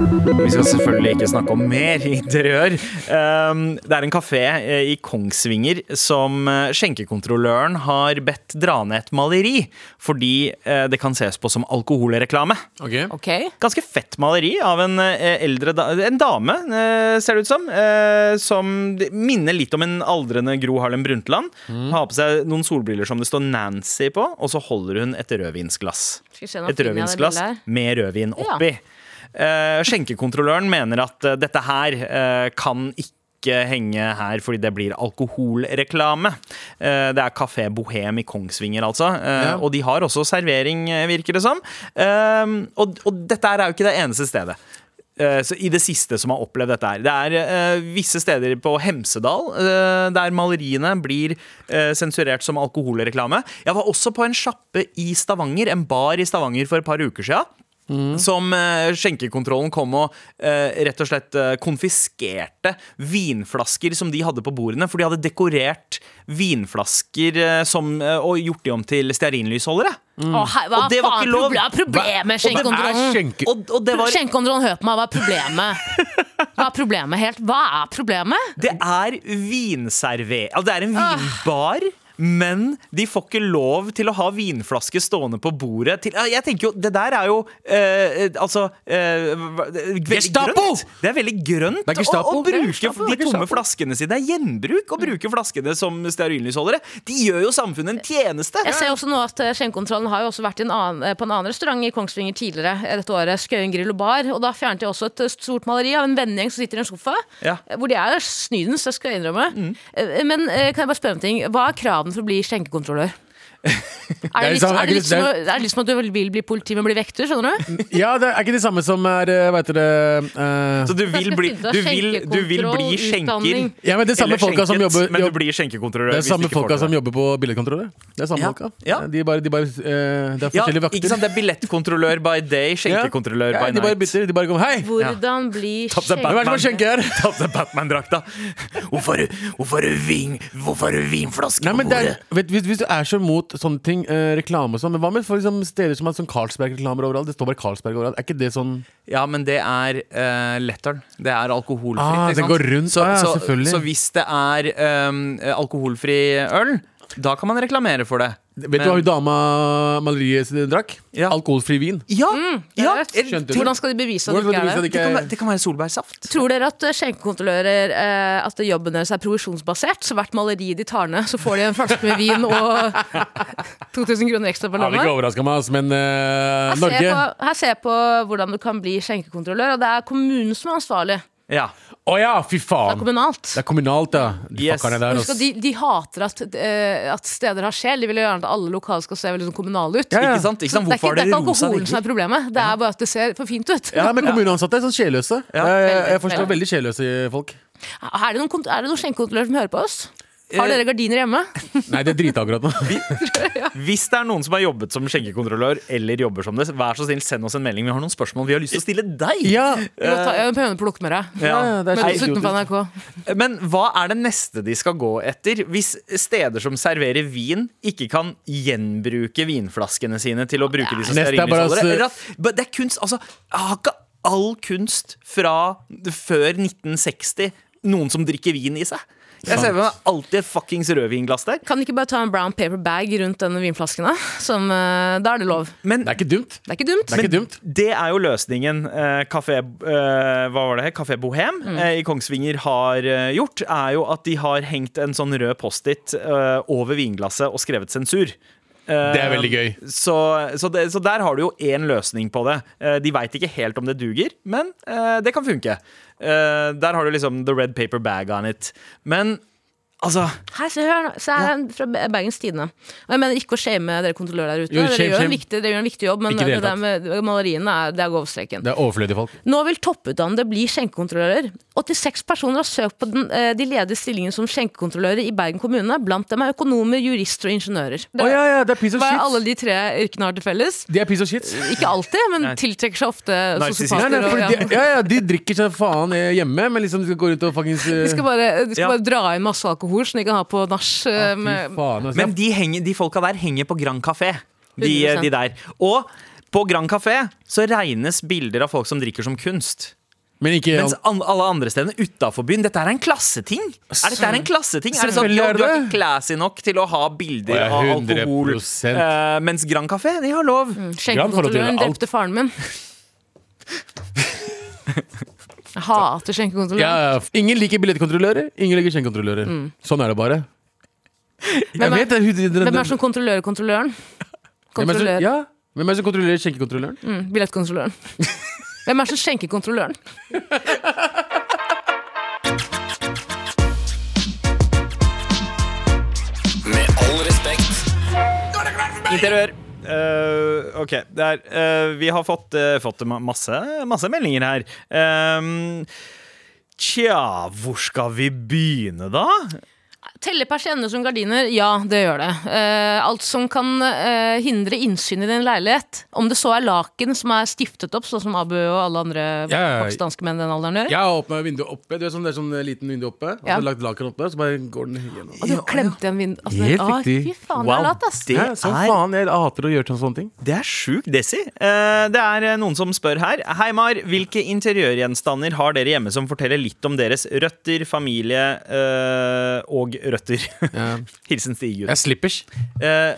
C: Vi skal selvfølgelig ikke snakke om mer interiør. Um, Det er en kafé eh, i Kongsvinger som eh, skjenkekontrolløren har bedt dra ned et maleri fordi eh, det kan ses på som alkoholreklame.
D: Ok.
B: Ok,
C: Ganske fett maleri av en eh, eldre da en dame, eh, ser det ut som. eh, Som det minner litt om en aldrende Gro Harlem Brundtland. Har på seg noen solbriller som det står Nancy på, og så holder hun et rødvinsglass
B: skal vi se nå
C: et
B: finner jeg det
C: rødvinsglass
B: bildet her.
C: med rødvin oppi. Eh, skjenkekontrolløren mener at eh, dette her eh, kan ikke henge her fordi det blir alkoholreklame. Eh, det er Kafé Bohem i Kongsvinger, altså. Eh,
D: Ja.
C: Og de har også servering, eh, virker det som. Eh, og, og dette her er jo ikke det eneste stedet. eh, Så I det siste som har opplevd dette her. Det er eh, visse steder på Hemsedal eh, der maleriene blir eh, sensurert som alkoholreklame. Jeg var også på en sjappe i Stavanger, en bar i Stavanger for et par uker sia. Som eh, skjenkekontrollen kom og eh, rett og slett eh, konfiskerte vinflasker som de hadde på bordene. For de hadde dekorert vinflasker eh, som, eh, og gjort de om til stearinlysholdere.
B: Å, hei, Hva
C: Mm. Og det var
B: faen
C: ikke lov.
B: proble- er problemet med
D: Hvem er
B: skjenkekontrollen?
D: skjenke...
C: Og, og det var
B: Skjenkekontrollen, hør på meg, hva er problemet? Hva er problemet helt? Hva er problemet?
C: Det er vinserver... Ja, det er en vinbar. Men de får ikke lov til å ha vinflasker stående på bordet. Til, Ja, jeg tenker jo, Det der er jo eh, eh, altså eh, hva- det er veldig
D: Gestapo!
C: grønt. Det er veldig grønt
D: Det er Gestapo.
C: å, å
D: Det er
C: bruke
D: Gestapo,
C: de
D: det er
C: tomme
D: Gestapo.
C: flaskene sine. Det er gjenbruk å bruke flaskene som stearinlysholdere. De gjør jo samfunnet en tjeneste.
B: Jeg ser jo også nå at eh, Skjenkekontrollen har jo også vært i en annen, eh, på en annen restaurant i Kongsvinger tidligere eh, dette året. Skøyen grill og bar. Og da fjernet jeg også et eh, stort maleri av en vennegjeng som sitter i en sofa.
C: Ja.
B: eh, Hvor de er snydens, det skal jeg innrømme. Eh, Men eh, kan jeg bare spørre om en ting? Hva er kravene for å bli skjenkekontrollør? Er det
D: er
B: litt,
D: samme-
B: er det
D: er ikke
B: litt, som, å-
D: det-
B: er det litt som at du vil bli politi, men bli vekter? skjønner du?
D: Ja, det er ikke det samme som er eh, Hva heter det eh,
C: Så du vil, bli,
B: Jeg skal
C: du,
B: finne ut av
C: vil, du vil bli skjenker.
B: skjenkekontrollutdanning.
D: Ja, men det er samme
C: eller
D: folka som
C: skjenket,
D: jobber-
C: Men
D: jobb-
C: du blir skjenkekontrollør.
D: Det er
C: hvis du
D: samme
C: ikke får
D: folka
C: til
D: som
C: det.
D: jobber på billedkontroller. Det er samme
C: Ja,
D: folka.
C: ja.
D: De bare, de bare, eh, det er
C: ja,
D: forskjellige vakter.
C: ikke sant? Det er billettkontrollør by day,
D: Ja.
C: skjenkekontrollør by
D: Ja, De bare
C: night.
D: bytter. De bare kommer Hei!
B: Hvordan bli
C: Tatt seg
D: Hvem er det som
C: Batman.
D: har skjenke her?
C: Ta på deg Batman-drakta. Hvorfor, hvorfor, vin, hvorfor vinflaske
D: Nei,
C: på
D: men det er,
C: bordet?
D: vet, hvis, hvis du er så mot sånne ting, eh, reklame og sånn, men hva med for eksempel steder som har sånn Carlsberg-reklamer overalt? Det står bare Carlsberg overalt. Er ikke det sånn
C: Ja, men det er uh, letteren. Det er alkoholfritt.
D: Ah,
C: ikke
D: det
C: sant?
D: går rundt,
C: så,
D: ah, ja,
C: så,
D: selvfølgelig.
C: så hvis det er eh, alkoholfri øl, da kan man reklamere for det.
D: Vet
C: Men-
D: du hva hun dama maleriet sitt drakk?
C: Ja.
D: Alkoholfri vin.
C: Ja! ja
B: det
C: eller-
D: Skjønte du?
B: Hvordan skal de bevise at
D: Hvordan
B: du
D: skal
B: ikke er
D: du vise
B: det?
D: at
C: det,
D: det
C: kan, være-
D: ikke
C: det kan være solbærsaft.
B: Tror dere at eh, skjenkekontrollører eh, At jobben deres er provisjonsbasert? Så hvert maleri de tar ned, så får de en flaske med vin og 2000 kroner ekstra på
D: Hadde ikke
B: lomma?
D: overraska meg, altså, men eh,
B: Her ser, jeg
D: Norge
B: på, her ser jeg på hvordan du kan bli skjenkekontrollør, og det er kommunen som er ansvarlig. Det
C: Ja.
D: Å ja, fy
B: er
D: faen!
B: kommunalt.
D: Det er kommunalt, ja. Du
C: Yes.
D: fuckerne der,
B: Husk
D: ass.
B: at de, de hater at, eh, at steder har sjel. De vil jo gjerne at alle lokale skal se veldig sånn kommunale ut.
C: Ikke sant? Ikke sant?
B: det er ikke,
C: Hvorfor
B: det er
C: er
B: ikke
C: det rosa
B: alkoholen som
C: vegger?
B: er problemet, det er bare at det ser for fint ut.
D: Ja, men kommuneansatte er sånn sjelløse.
C: Ja,
D: jeg, jeg,
B: veldig,
D: jeg forstår
B: veldig.
D: veldig sjelløse folk.
B: Er det noen, kont- er det noen skjenkekontrollører som hører på oss? Har
C: Eh,
B: dere gardiner hjemme?
D: Nei, det driter akkurat nå.
C: Hvis det er noen som har jobbet som skjenkekontrollør, eller jobber som det, vær så snill, send oss en melding. Vi har noen spørsmål vi har lyst til å stille deg.
D: Ja,
B: Vi må ta en høneplukk med deg.
C: Ja.
D: Eh, ja, det er
B: Men
D: så
B: dessuten på
D: idiotisk.
B: NRK.
C: Men hva er det neste de skal gå etter? Hvis steder som serverer vin, ikke kan gjenbruke vinflaskene sine til å bruke de som
D: Neste er bare å
C: stearinlysholdere?
D: se-
C: Eller at- But Det er kunst, altså Har ikke all kunst fra før 1960 noen som drikker vin i seg? Jeg ser for meg alltid et fuckings rødvinglass der.
B: Kan de ikke bare ta en brown paper bag rundt denne vinflasken? Da Som, eh, da er det lov.
C: Men
D: Det er ikke dumt.
B: Det er ikke dumt.
D: Det er ikke dumt.
C: Det er jo løsningen eh, Café, eh, hva var det, her? Café Bohem eh, i Kongsvinger har eh, gjort, er jo at de har hengt en sånn rød Post-It eh, over vinglasset og skrevet sensur.
D: Det er veldig gøy.
C: Så, så, det, så der har du jo én løsning på det. Eh, De veit ikke helt om det duger, men eh, det kan funke. Eh, Der har du liksom the red paper bag on it. Men altså
B: Her, se her, nå. se her fra Bergens Tidende. Og jeg mener ikke å shame dere kontrollører der ute.
D: Jo,
B: dere,
D: shame,
B: gjør en
D: shame.
B: viktig, dere gjør en viktig jobb, men
D: Ikke
B: det,
D: i det hele
B: der med maleriene er, det er overstreken.
D: Det er overflødige folk.
B: Nå vil topputdannede bli skjenkekontrollører. 86 personer har søkt på den, eh, de ledige stillingene som skjenkekontrollører i Bergen kommune. Blant dem er økonomer, jurister og ingeniører.
D: Å ja, ja, det er piece of
B: Hva er alle
D: shit.
B: de tre yrkene har til felles?
D: De er piece of shit.
B: Ikke alltid, men tiltrekker seg ofte
C: Narsissister.
D: Nei, nei,
B: sosiopater. og-
D: fordi
B: ja.
D: de, ja, ja, de drikker seg faen eh, hjemme, men liksom de skal gå rundt og fuckings eh,
B: De skal bare, de skal
C: Ja.
B: bare dra inn masse alkohol som de kan ha på nach. eh,
D: Fy
B: med-
D: faen, altså.
C: Men de, henger, de folka der henger på Grand Café. De,
B: 100%.
C: de der. Og På Grand Café så regnes bilder av folk som drikker som kunst.
D: Men ikke
C: Mens an alle andre stedene utafor byen Dette er en klasseting! Er dette her en klasseting? Er det sånn,
D: Selvfølgelig
C: jo,
D: er
C: Du er ikke
D: det.
C: classy nok til å ha bilder
D: Å, ja,
C: av alkohol.
D: 100%.
C: eh, mens Grand Café, de har lov.
D: Grand får lov til å gjøre
B: Skjenkekontrolløren
D: alt.
B: drepte faren min. Jeg hater
D: ja,
B: skjenkekontrolløren.
D: ja. Ingen liker billettkontrollører, ingen liker skjenkekontrollører. Sånn er det bare.
B: Mm. Hvem
D: Jeg
B: er-
D: vet det, hun- den- den-
B: Hvem er det som kontrollerer kontrolløren?
D: Hvem er det som-
B: Kontrollør.
D: Ja. Hvem er det som kontrollerer skjenkekontrolløren?
B: Mm, Billettkontrolløren. Hvem er det som skjenker kontrolløren?
G: Med all respekt.
C: Interiør. Eh, ok, det er, eh, vi har fått, eh, fått ma- masse, masse meldinger her. Ehm, tja, hvor skal vi begynne, da?
B: Telle persienner som gardiner, ja, det gjør det. Eh, alt som kan eh, hindre innsyn i din leilighet. Om det så er laken som er stiftet opp, sånn som Abu og alle andre
D: Ja, ja, ja.
B: pakistanske menn den alderen gjør.
D: Jeg har åpna vinduet oppe. Du er sånn, det er sånn eh, liten vindu oppe. Og så
B: Ja.
D: har jeg lagt laken oppe, så bare går den gjennom.
B: Og du klemte igjen vinduet. Altså,
D: Helt
B: ah,
D: riktig.
B: Fy faen, det er lat, ass.
C: det
D: Hæ, som
C: er
D: faen, jeg hater å gjøre sånne- sånne ting.
C: Det er sjukt, Desi. Eh, det er eh, noen som spør her. Hei, Mar. Hvilke interiørgjenstander har dere hjemme som forteller litt om deres røtter, familie eh, og røtter? Hilsen Stig
D: Jeg
C: Gud.
D: er slippers.
C: Eh,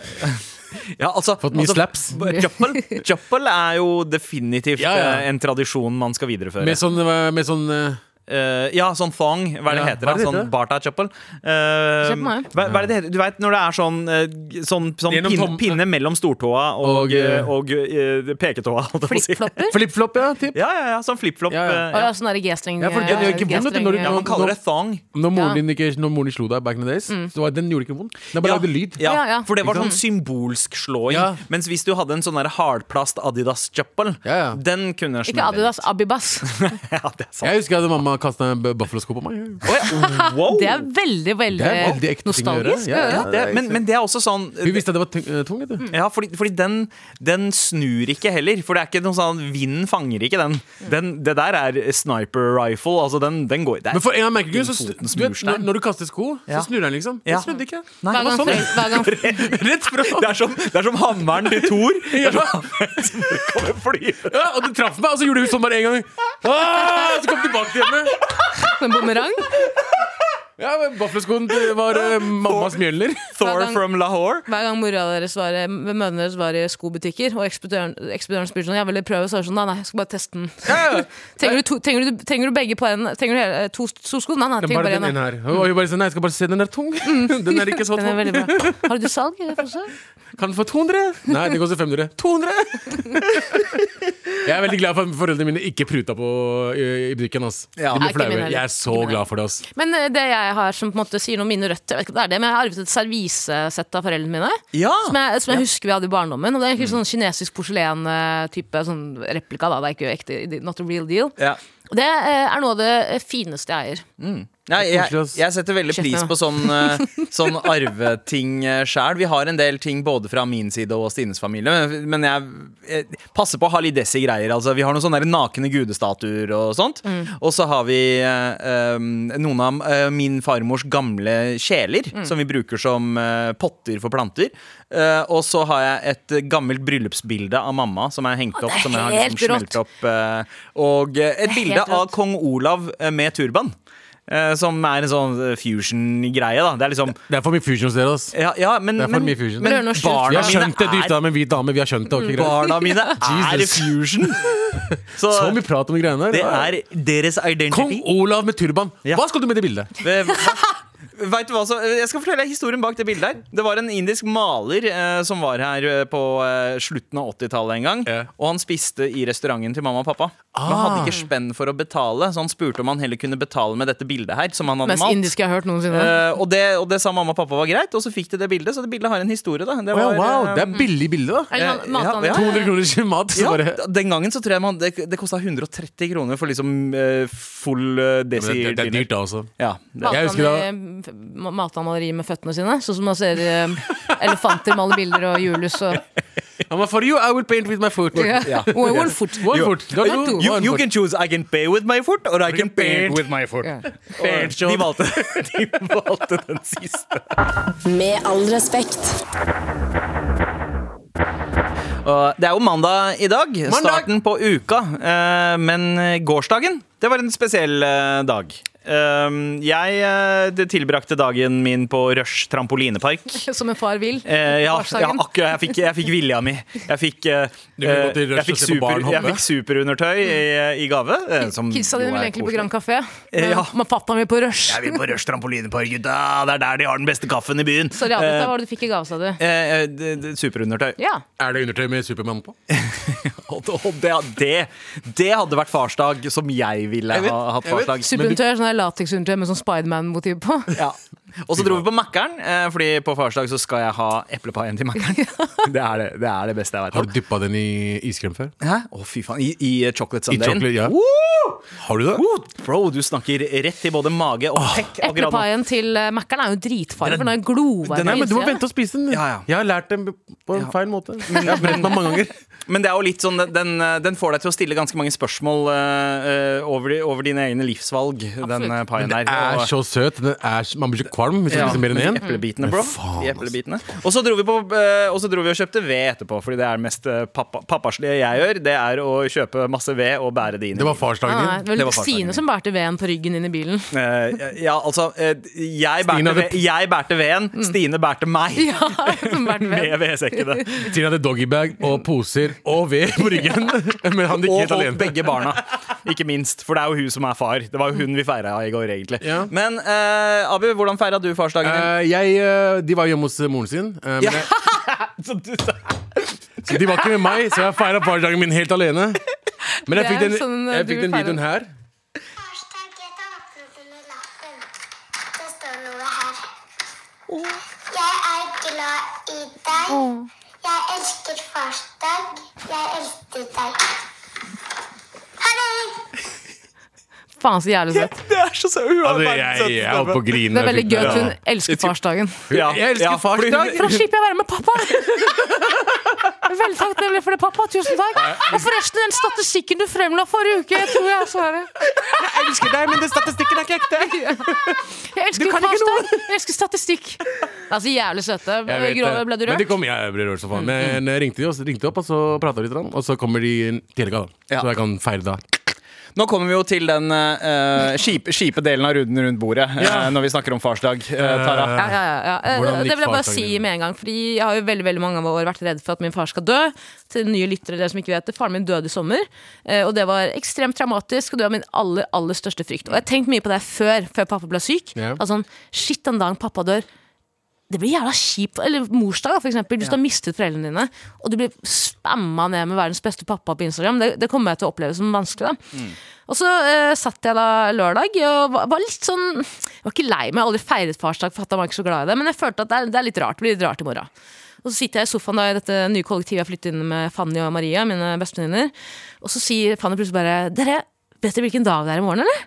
C: ja, altså,
D: Fått mye
C: altså,
D: slaps.
C: b- Chapel, chapel er jo definitivt
D: Ja, ja.
C: eh, en tradisjon man skal videreføre.
D: Med sånn, eh, med sånn eh,
C: Eh, ja, sånn thong. Hva er det
D: Ja,
C: heter?
D: hva
C: da?
D: er det
C: Sånn
D: heter?
C: Barta chapel. Eh,
B: Se på meg.
C: hva, hva er det det heter? Du veit når det er sånn, eh, sånn, sånn
D: Gjennom
C: pinne,
D: tom-
C: pinne mellom stortåa og,
D: Og, eh,
C: og, eh, peketåa, holdt jeg på å si.
B: Flipflopper?
D: Flippflopp, ja. Tipp.
C: Ja, ja, ja, sånn flip-flop.
D: Ja, ja.
C: eh,
B: Å
C: ja.
B: ja, sånn derre G-streng
D: Ja, for den gjør ikke vondt, vet du, når du-
B: G-streng-
C: ja, man kaller det thong.
D: Når moren
B: Ja.
D: din ikke Når moren din slo deg back in the days,
B: Mm.
D: så var den gjorde ikke vondt. Den bare
C: Ja,
D: lagde lyd.
C: ja,
B: Ja, ja.
C: For det var
D: Ikke
C: sånn symbolsk slåing.
D: Ja.
C: Mens hvis du hadde en sånn der hardplast Adidas chapel,
D: Ja, ja.
C: den kunne
B: Ikke
C: smelle
B: Adidas,
C: litt.
B: Abibas.
C: Ja, det er sant.
D: Jeg husker at mamma kasta en b- buffalosko på meg.
C: Å, ja. Wow!
B: Det er veldig,
D: Det er veldig
B: veldig
D: ekte ting å
B: Eh,
D: gjøre.
B: nostalgisk.
D: Ja,
B: ja. Mm.
C: ja, det er, men, men det er også sånn
D: Hun visste at det var tung, eh, tung vet du.
C: ja, fordi, fordi den, den snur ikke heller. For det er ikke noe sånn Vinden fanger ikke den. den det der er sniper rifle. Altså, den, den går det er-
D: Men for en av merkelige grunner, så
C: Din foten
D: snu- du vet,
C: snur seg.
D: når, når du kaster sko,
C: Ja.
D: så snur den liksom.
C: Ja.
D: Den snudde ikke.
B: Hver
C: Nei, det,
B: gang,
C: var sånn.
B: hver gang
D: Rett fra.
C: det, er som, det er som hammeren til Thor. Det er som hammeren som kommer flyende.
D: Ja, og den traff meg, og så gjorde hun sånn bare en gang. Ah, så kom hun tilbake til henne.
B: en bumerang
D: Ja, men Vaffelskoen til- var eh, mammas mjølner.
C: Thor
B: gang-
C: from Lahore.
B: Hver gang mora deres var, mødrene deres var i skobutikker, og ekspedøren, ekspedøren spurte sånn, jeg ville prøve, så var det sånn, nei, nei, jeg skal bare teste den. Trenger du, to, trenger du, trenger du begge på en, trenger du hele- to, to sko? Nei, nei,
D: Den
B: trenger
D: bare
B: bare en.
D: den ene
B: da.
D: her. Og hun bare sånn, nei, jeg skal bare se, den er tung. Den er ikke så
B: Den er
D: tung.
B: veldig bra. Har du salg? i det også?
D: Kan den få 200? Nei, det koster 500. 200! Jeg er veldig glad for at foreldrene mine ikke pruta på i, i butikken. Ass.
C: Ja.
D: De
B: Nei,
D: ble
B: ikke
D: flaue.
B: min heller.
D: Jeg er så
B: Ikke min
D: glad for det. Ass.
B: Men eh, det jeg har som på en måte sier noe om mine røtter, jeg vet ikke om det er det, men jeg har arvet et servisesett av foreldrene mine,
C: Ja.
B: som jeg, som jeg husker vi hadde i barndommen, og det er egentlig sånn kinesisk porselen-type sånn replika da, det er ikke ekte, not a real deal.
C: Ja.
B: Og Det eh, er noe av det fineste jeg eier.
C: Nei,
D: koselig,
C: jeg,
D: ass.
C: jeg setter veldig
B: Shit,
C: pris
B: ja.
C: på sånn, eh, sånn arveting eh, sjæl. Vi har en del ting både fra min side og Stines familie, men- men jeg, jeg passer på å ha litt Desi-greier. Altså, vi har noen sånne der nakne gudestatuer og sånt.
B: Mm.
C: Og så har vi eh, eh, noen av eh, min farmors gamle kjeler,
B: Mm.
C: som vi bruker som eh, potter for planter. Eh, og så har jeg et eh, gammelt bryllupsbilde av mamma som er hengt opp.
B: er
C: Som jeg har liksom
B: helt rått.
C: smelt opp eh, Og eh,
B: Det
C: et
B: er
C: bilde
B: helt
C: av
B: rått.
C: kong Olav eh, med turban. Eh, Som er en sånn eh, fusion-greie, da. Det er liksom
D: Det er for mye fusion hos dere. Ass.
C: Ja, ja men,
D: Det er for
C: men,
D: mye fusion.
C: men
B: Det er noe skjult.
D: Vi
C: barna
D: har skjønt det, du
C: mine
D: gifta
C: er,
D: deg med en hvit dame. Vi har skjønt det. ok, greit.
C: barna mine er
D: Jesus.
C: fusion! Så
D: Så mye prat om de greiene der.
C: det er deres
D: Kong
C: identity.
D: Olav med turban.
C: Ja.
D: Hva skal du med det bildet?
C: Eh, hva- Vet du hva, så, eh, jeg skal fortelle deg historien bak det bildet. her Det var en indisk maler eh, som var her eh, på eh, slutten av 80-tallet en gang.
D: Ja. Ah.
C: Og han spiste i restauranten til mamma og pappa. Men han hadde ikke spenn for å betale, så han spurte om han heller kunne betale med dette bildet her. Som han hadde
B: Mest
C: malt.
B: indiske jeg har hørt noensinne.
C: Eh, og, det, og det sa mamma og pappa var greit, og så fikk de det bildet. Så det bildet har en historie, da. Det
D: Å ja,
C: var,
D: wow,
C: eh,
D: det er billig bilde, da.
B: Eller
C: eh,
B: han matet
C: ja,
B: han
C: ja.
B: litt.
D: 200 kroner i mat. Så
C: ja,
D: bare,
C: d- Den gangen så tror jeg man det, det kosta 130 kroner for liksom eh, full uh,
D: Men det, det, det er dyrt, da altså. også.
C: Ja, det,
B: Malte
D: Jeg husker
B: han, i- eh, f- malte han malerier med føttene sine, sånn som man ser eh, elefanter male bilder og julelys og
D: I'm a for you, I will paint with my foot.
B: Ja. Og one foot.
D: One foot. Du har
B: Jo,
D: to.
C: You,
D: One
C: you
D: foot.
C: can choose I can pay with my foot, or I can paint with
E: my foot.
B: Ja.
C: paint. De valgte, de valgte den siste.
A: Med all respekt.
C: Og det er jo mandag i dag. Starten på uka. Eh, Men gårsdagen, det var en spesiell eh, dag. Eh, Jeg eh, det tilbrakte dagen min på Rush trampolinepark.
B: Som en far vil.
C: Eh, ja, ja,
B: Gårsdagen.
C: akkurat. Jeg fikk, jeg fikk vilja mi. Jeg fikk, eh,
D: Du kunne gå til
C: eh,
D: Rush
C: jeg
D: og
C: fikk,
D: se på barn
C: super, jeg
D: hoppe.
C: fikk superundertøy i, i gave. eh, som
B: Kidsa
C: jo
B: dine
C: er
B: vil egentlig på
C: koselig.
B: Grand Café.
C: Eh, ja.
B: Men pappaen vil på Rush.
C: Jeg vil på Rush trampolinepark, gutta! Det er der de har den beste kaffen i byen.
B: Sorry, Abid, hva
C: Eh,
B: var det du fikk i gave, sa du?
C: eh, eh, d- d- Superundertøy.
B: Ja.
D: Er det undertøy med Supermann på?
C: Og det, det, det hadde vært farsdag som jeg ville
D: Jeg vet,
C: ha hatt
D: jeg vet.
C: farsdag. Men du-
B: Superundertøy, sånn der lateksundertøy med sånn Spiderman-motiv på.
C: Ja. Og så dro vi på Mækkern, eh, Fordi på farsdag så skal jeg ha eplepaien til Mækkern. Det, er det, det er det beste jeg vet
D: Har
C: om.
D: du dyppa den i iskrem før?
C: Hæ? Å, fy faen. I, i chocolate
D: I
C: sundayen.
D: chocolate, ja. Har du det?
C: Woo! Bro, du snakker rett til både mage og pekk. akkurat nå.
B: Eplepaien til eh, Mækkern er jo dritfarlig, for den er jo glovarm.
D: Nei,
B: på
D: men Du må
B: innsiden.
D: vente og spise den.
C: Ja, ja.
D: Jeg har lært den på en feil måte. Jeg har brent meg mange ganger.
C: Men det er jo litt sånn, den, den får deg til å stille ganske mange spørsmål eh, eh, over, over dine egne livsvalg, den eh, paien der.
D: Er
C: Og-
D: så søt. Den er, så- man blir så kvalm hvis man
C: Ja,
D: spiser mer enn
C: med
D: én.
C: de Eplebitene, bro.
D: faen,
C: De eplebitene. Og så dro vi på eh, Og så dro vi og kjøpte ved etterpå, fordi det er det mest eh, pappa, pappaslige jeg gjør. Det er å kjøpe masse ved og bære det inn. i
D: Det var
C: bilen.
D: farsdagen
B: Nei,
D: din.
B: vel,
C: Det var farfaren min.
B: Stine som bærte veden på ryggen inn i bilen.
C: Eh, ja, altså eh, jeg, bærte
D: hadde-
C: ved, jeg bærte veden, Stine bærte meg.
B: Mm. Ja, som bærte
C: Med
B: veden.
C: vedsekkene.
D: Tina hadde doggybag og poser og ved på ryggen. Men han gikk
C: Og
D: helt
C: holdt
D: alene.
C: begge barna. Ikke minst, for det er jo hun som er far. Det var jo hun vi feira i går, egentlig.
D: Ja.
C: Men eh, Abu, hvordan feira du farsdagen din?
D: Eh, jeg, eh, de var hjemme hos eh, moren sin. eh, men jeg,
C: Så du-
D: så de var ikke med meg, så jeg feira farsdagen min helt alene. Men jeg
B: Det
D: fikk
B: er
D: den,
B: sånn, eh,
D: jeg
B: du
D: fikk den
B: vil feire-
D: videoen her.
H: Hashtag jeg tar åpnet under lappen. Det står noe her. Jeg er glad i deg. Jeg elsker farsdag. Jeg elsker deg. Ha det!
B: Faen, så jævlig søtt.
C: Det er så søtt! Hun har verdens
D: Altså,
C: søteste
D: jeg, jeg holdt
C: stemme.
D: på å
B: sånn
D: grine.
B: Det er
D: da jeg
B: veldig
D: fikk
B: gøy
D: den.
B: at hun elsker farsdagen.
C: Ja,
D: Jeg elsker
C: ja, fordi hun-
D: farsdag.
B: For da slipper jeg å være med pappa! Vel takk, det ble for det, pappa. Tusen takk. Og forresten, den statistikken du fremla forrige uke, jeg tror jeg også har det.
C: Jeg elsker deg, men den statistikken er ikke ekte.
B: Jeg elsker farsdag. Jeg elsker statistikk. Det er så jævlig søte.
D: Jeg vet
B: Grå,
D: det.
B: ble du
D: Men de
B: rørt?
D: kom, ja, jeg ble rørt som faen. Men jeg ringte, de også, ringte opp, og så prata litt, grann, og så kommer de til helga, da.
C: Ja.
D: Så jeg kan feire da.
C: Nå kommer vi jo til den eh, kjip, kjipe delen av runden rundt bordet eh, når vi snakker om farsdag. eh, Tara.
B: Ja, ja, ja, ja.
D: Hvordan
B: Eh,
D: gikk
B: Det vil jeg bare
D: farsdagen
B: si
D: din?
B: med en gang. Fordi Jeg har jo veldig veldig mange år vært redd for at min far skal dø. Til nye lyttere, dere som ikke vet det Faren min døde i sommer, eh, og det var ekstremt traumatisk. Og det var min aller aller største frykt. Og jeg har tenkt mye på det før, før pappa ble syk.
D: Ja.
B: Altså, sånn, Shit, den dagen pappa dør det blir jævla kjipt. Eller morsdag, da, for eksempel. Hvis du har mistet foreldrene dine, og du blir spamma ned med verdens beste pappa på Instagram, det, det kommer jeg til å oppleve som vanskelig. da Og så eh, satt jeg da lørdag og var, var litt sånn Jeg var ikke lei meg, jeg har aldri feiret farsdag, for at han var ikke så glad i det, men jeg følte at det er, det er litt rart. Det blir litt rart i morgen. Og så sitter jeg i sofaen da i dette nye kollektivet jeg flyttet inn med Fanny og Maria, mine bestevenninner, og så sier Fanny plutselig bare Dere, vet dere hvilken dag det er i morgen, eller?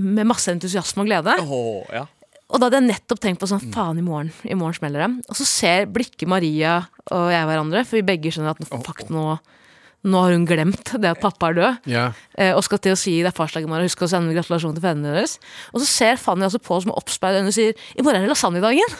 B: Med masse entusiasme og glede.
C: Åh, ja.
B: Og da hadde jeg nettopp tenkt på sånn, faen i morgen, i morgen smeller det. Og så ser blikket Maria og jeg hverandre, for vi begge skjønner at nå- fuck, nå, nå har hun glemt det at pappa er død.
D: Ja.
B: Eh, og skal til å si det er farsdag i morgen, husk å sende gratulasjon til fedrene deres. Og så ser Fanny altså på oss med oppspeid øyne og sier i morgen er det lasagnedagen.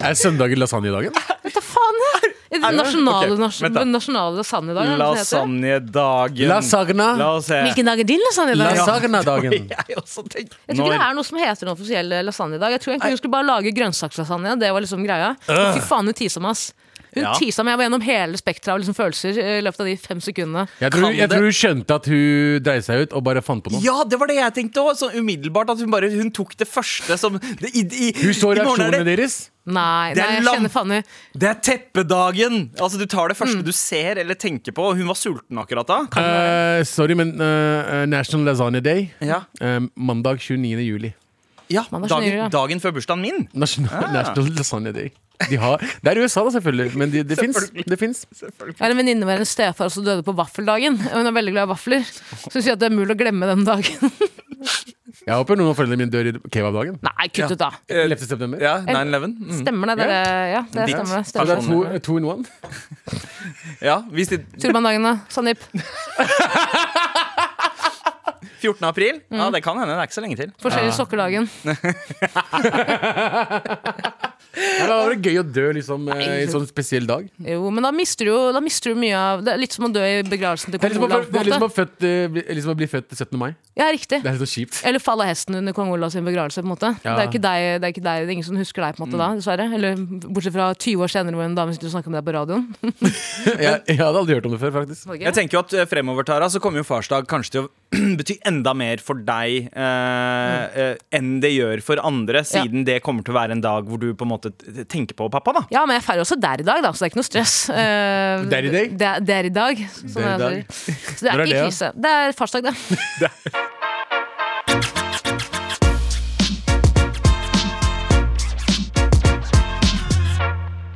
D: Er søndagen lasagnedagen?
B: Vet du faen, jeg. I den nasjonale,
C: Ok,
B: nas
C: vent da.
B: nasjonale lasagnedagen. eller hva det heter.
C: Lasagnedagen. La
D: Lasagna.
C: oss se.
B: Hvilken dag er din lasagnedag?
C: Lasa-
D: Lasagna-dagen.
C: Jeg også tenkte
B: Jeg tror ikke det
C: Når-
B: er noe som heter noen offisiell lasagne i dag. Jeg tror egentlig hun skulle bare lage grønnsakslasagne. Det var liksom greia. Men Fy faen, hun tisa meg, ass. Hun
C: Øh. Ja.
B: tisa meg. Jeg var gjennom hele spekteret av liksom følelser eh, i løpet av de fem sekundene.
D: Jeg tror,
C: Kan
D: jeg
C: det-
D: tror hun skjønte at hun dreide seg ut og bare fant på noe.
C: Ja, det var det jeg tenkte òg. Sånn umiddelbart at hun bare Hun tok det første som det, i, i,
D: Hun så
C: i morgen er
D: reaksjonene
C: det,
D: deres.
B: Nei,
C: Det er
B: nei, jeg
C: lam-
B: kjenner Fanny.
C: det er teppedagen! Altså, du tar det første du ser eller tenker på. Hun var sulten akkurat da.
D: Eh, sorry, men eh, eh, National Lasagna Day.
C: Ja,
D: eh, mandag 29. juli.
C: ja
B: Man var
C: dagen,
B: snill, ja.
C: dagen før bursdagen min.
D: National,
C: Ah.
D: National Lasagna Day. De har, det er i USA, da, selvfølgelig, men de, det fins. Det fins.
B: Jeg har en venninne med en stefar som døde på vaffeldagen. Hun er veldig glad i vafler. Så hun sier at det er mulig å glemme den dagen.
D: Jeg håper noen av foreldrene mine dør i kebabdagen.
B: Nei, kutt ut, da.
D: 11. september.
C: Eh, Ja, 9-11. Mm.
B: Stemmer det? det, er det ja, det
C: Ditt
B: stemmer det.
D: Så det
B: Stemmer.
D: er to, to in one.
C: Ja, hvis de,
B: Turbandagen, da? Sandeep.
C: 14. april? Ja, det kan hende. Det er ikke så lenge til.
B: Forskjellige sokkerdagen.
D: Ja, det var gøy å dø liksom eh, i en sånn spesiell dag. Det
B: Jo, men da mister du jo da mister du mye av Det er litt som å dø i begravelsen til
D: er
B: kong
D: liksom å,
B: Olav.
D: få- det
B: på
D: er
B: en
D: liksom å,
B: måte.
D: født, eh, bli- liksom å bli født 17. mai.
B: Ja, riktig.
D: Det er litt så kjipt.
B: Eller falle av hesten under kong Olavs begravelse. på en måte
D: Ja. Mm.
B: det, er ikke deg, det er ikke deg, det er ingen som husker deg, på en måte da, dessverre. Eller Bortsett fra 20 år senere, hvor en dame sitter og snakker om deg på radioen.
D: Jeg, jeg hadde aldri hørt om det før, faktisk.
B: Norge.
C: Jeg tenker jo at eh, fremover Tara, så kommer jo farsdag kanskje til å bety enda mer for deg eh, eh, enn det gjør for andre, siden det kommer til å være en dag hvor du på en måte t- tenker på pappa. da
B: Ja, men jeg feirer også der i dag, da, så det er ikke noe stress. Eh,
D: Der i dag?
B: Det, det er i dag. Som
D: Der i
B: jeg
D: dag.
B: sier. Så det
D: Når
B: er
D: er det,
B: ikke
D: da?
B: krise. Det er farsdag, det.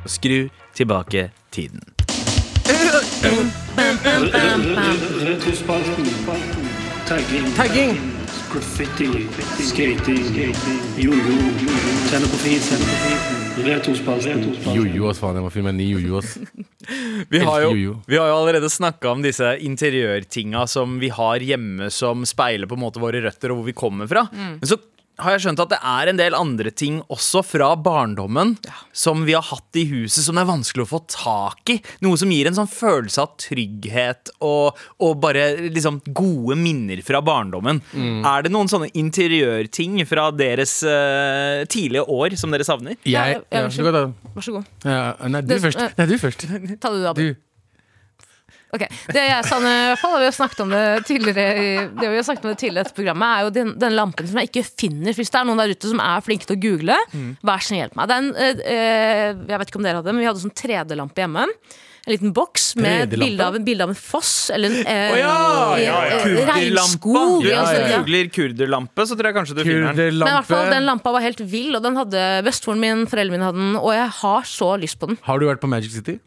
C: Skru tilbake tiden.
I: Retrospalten. Tagging.
D: Tagging!
I: Graffiti. Skating. Jojo. Tenner på fisen. Retrospalten.
D: Jojo, ass faen. Jeg må filme en ny jojo, ass.
C: Vi har,
D: Elsker
C: jo,
D: jojo.
C: vi har jo allerede snakka om disse interiørtinga som vi har hjemme, som speiler på en måte våre røtter og hvor vi kommer fra. Men så har jeg skjønt at det er en del andre ting også fra barndommen som vi har hatt i huset, som det er vanskelig å få tak i. Noe som gir en sånn følelse av trygghet og, og bare liksom gode minner fra barndommen.
D: Mm.
C: Er det noen sånne interiørting fra deres eh, tidlige år som dere savner?
B: Ja,
D: Jeg,
B: ja,
D: ja,
B: unnskyld.
D: så godt, da.
B: Vær så god.
D: Ja, nei, du
B: Det-
D: først. Nei, du først.
B: Ta det du, Abel.
D: Du.
B: Ok, Det jeg savner, i hvert fall, og vi har snakket om det tidligere i- Det vi har snakket om det tidligere i dette programmet, er jo den, den lampen som jeg ikke finner. Hvis det er noen der ute som er flinke til å google,
D: Mm.
B: vær så snill hjelp meg. Det er en, eh, eh, jeg vet ikke om dere hadde det, men vi hadde sånn 3D-lampe hjemme. En liten boks med et
D: 3D-lampe?
B: bilde av, en- bilde av en foss eller en eh,
C: ja, ja, ja.
B: eh, regnskog. eller noe
C: Du, Hvis
B: sånt,
C: du
B: ja.
C: googler kurderlampe, så tror jeg kanskje du finner den.
B: Men i hvert fall, den
D: Kurderlampe.
B: lampa var helt vill, og den hadde bestemoren min, foreldrene mine hadde den, og jeg har så lyst på den.
D: Har du vært på Magic City?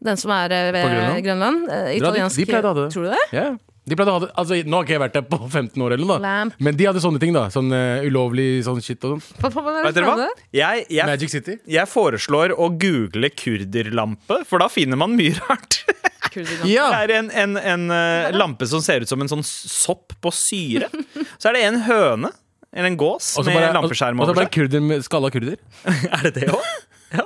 B: Den som er eh, ved
D: På Grønland?
B: Grønland. eh,
D: Dere hadde-
B: italiensk
D: de pleide å ha det.
B: Tror du det?
D: Ja. De pleide å ha det Altså, nå har ikke jeg vært der på 15 år, eller noe,
B: Lamp.
D: da. men de hadde sånne ting. da Sånn eh, ulovlig sånn shit og sånn.
B: Hva faen er det
C: Vet dere
B: for
C: hva?
B: noe?
C: Jeg, jeg,
D: Magic City.
C: jeg foreslår å google kurderlampe, for da finner man mye rart. Det er en, en, en eh, lampe som ser ut som en sånn sopp på syre. Så er det en høne, eller en gås,
D: Og så
C: med
D: bare, og
C: lampeskjerm
D: og så
C: over
D: bare
C: seg.
D: kurder med skalla kurder.
C: Er det det òg? Ja.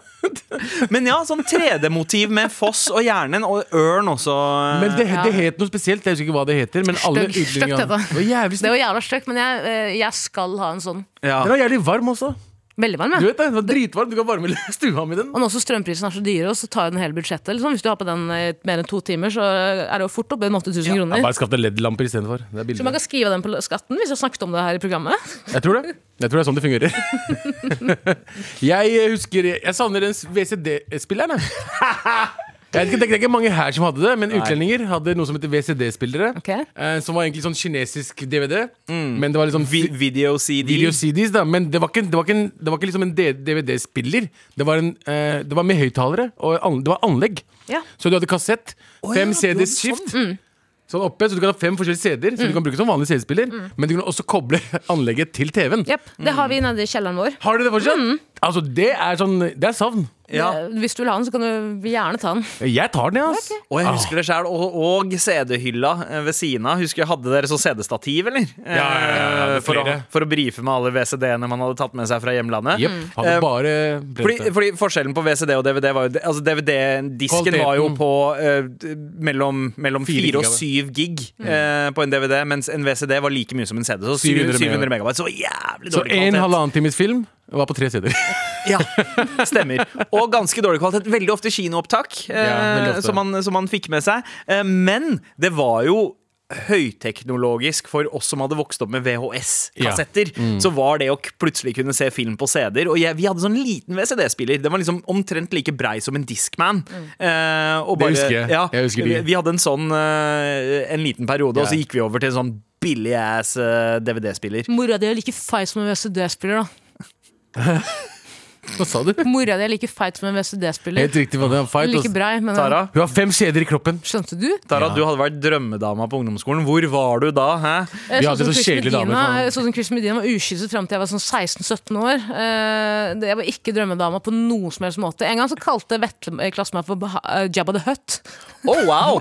C: Men ja, sånn 3D-motiv med foss og hjernen, og ørn også. eh,
D: Men det, det het noe spesielt. Jeg husker ikke hva det heter. Men alle
B: Støgg- støgt
D: utlendinger-
B: heter det.
D: Det var jævlig
B: Det
D: stygt.
B: var jævla stygt, men jeg, eh, jeg skal ha en sånn.
C: ja.
D: Den var jævlig varm også.
B: Veldig varm,
D: Du
B: jeg.
D: vet det, den var dritvarm. Du kan varme stua med den.
B: Og nå som strømprisene er så dyre, og så tar jo den hele budsjettet. Liksom. Hvis du har på den i mer enn to timer, så er det jo fort oppe i 8000
D: Ja,
B: kroner.
D: bare skaff deg LED-lamper istedenfor. Det er
B: Så man
D: billig.
B: kan skrive den på skatten, hvis jeg snakket om det her i programmet.
D: Jeg tror det. Jeg tror det er sånn det fungerer. jeg eh, husker Jeg savner den WCD-spilleren, jeg. Jeg vet ikke, det er ikke mange her som hadde det, men utlendinger hadde noe som heter WCD-spillere.
B: Ok.
D: eh, Som var egentlig sånn kinesisk DVD, men det var liksom
C: Vi- Video CD.
D: Video CDs, da. Men det var ikke, det var ikke, en, det var ikke liksom en DVD-spiller. Det, var en, eh, det var med høyttalere, og an, det var anlegg.
B: Ja.
D: Så du hadde kassett, fem CDs skift. Sånn. oppe, så du kan ha fem forskjellige CD-er, så du kan bruke som vanlig CD-spiller. Men du kan også koble anlegget til TV-en.
B: Jepp, Det har vi nede i kjelleren vår.
D: Har du det fortsatt? Altså, det er sånn Det er savn.
C: Ja.
B: Eh, Hvis du vil ha den, så kan du gjerne ta den.
D: Jeg tar den, jeg, ass.
C: Og jeg husker det selv, og, og CD-hylla eh, ved siden av. Husker jeg Hadde dere sånn CD-stativ, eller? Eh,
D: Ja, ja, ja, ja,
C: for, å,
D: flere.
C: for å brife med alle VCD-ene man hadde tatt med seg fra hjemlandet.
D: Jepp. Hadde
C: Eh,
D: bare
C: Fordi, fordi Forskjellen på VCD og DVD var jo Altså DVD-disken var jo
D: Kvaliteten.
C: på eh, d- mellom, mellom 4
D: Fire
C: og
D: gigabyte.
C: 7 gig eh, på en DVD, mens en VCD var like mye som en CD. Så 700,
D: 700
C: 700 megabyte. Så jævlig
D: Så
C: dårlig
D: en halvannen times film var på tre CD-er.
C: Ja, stemmer. Og ganske dårlig kvalitet. Veldig ofte kinoopptak, eh,
D: Ja, veldig ofte.
C: som, man, som man fikk med seg. Eh, men det var jo Høyteknologisk for oss som hadde vokst opp med VHS-kassetter.
D: Mm.
C: Så var det å k- plutselig kunne se film på CD-er. Og jeg, vi hadde sånn liten VCD-spiller. Den var liksom omtrent like brei som en Discman. Eh, og
D: Det husker jeg.
C: Ja,
D: Jeg husker de.
C: vi, vi hadde en sånn eh, en liten periode, og så gikk vi over til en sånn billig ass eh, DVD-spiller.
B: Mora di er like feit som en VCD-spiller, da.
D: Hva sa du?
B: Mora di er like feit som en VCD-spiller.
D: Helt altså. riktig. hva det er, fight,
B: Like
D: ass.
B: brei, men
C: Tara?
D: Hun har fem CD-er i kroppen.
B: Skjønte du?
C: Tara, du hadde vært drømmedama på ungdomsskolen. Hvor var du da? Hæ?
B: Eh,
D: Vi
B: sånn
D: hadde
B: som
D: så
B: Chris
D: kjedelige damer,
B: Medina-
D: faen.
B: eh, Sånn som Chris Medina var uskyldt fram til jeg var sånn 16-17 år. Eh, det- Jeg var ikke drømmedama på noen som helst måte. En gang så kalte Vetle eh, klassen meg for Bah- eh, Jabba the Hutt.
C: Oh, wow!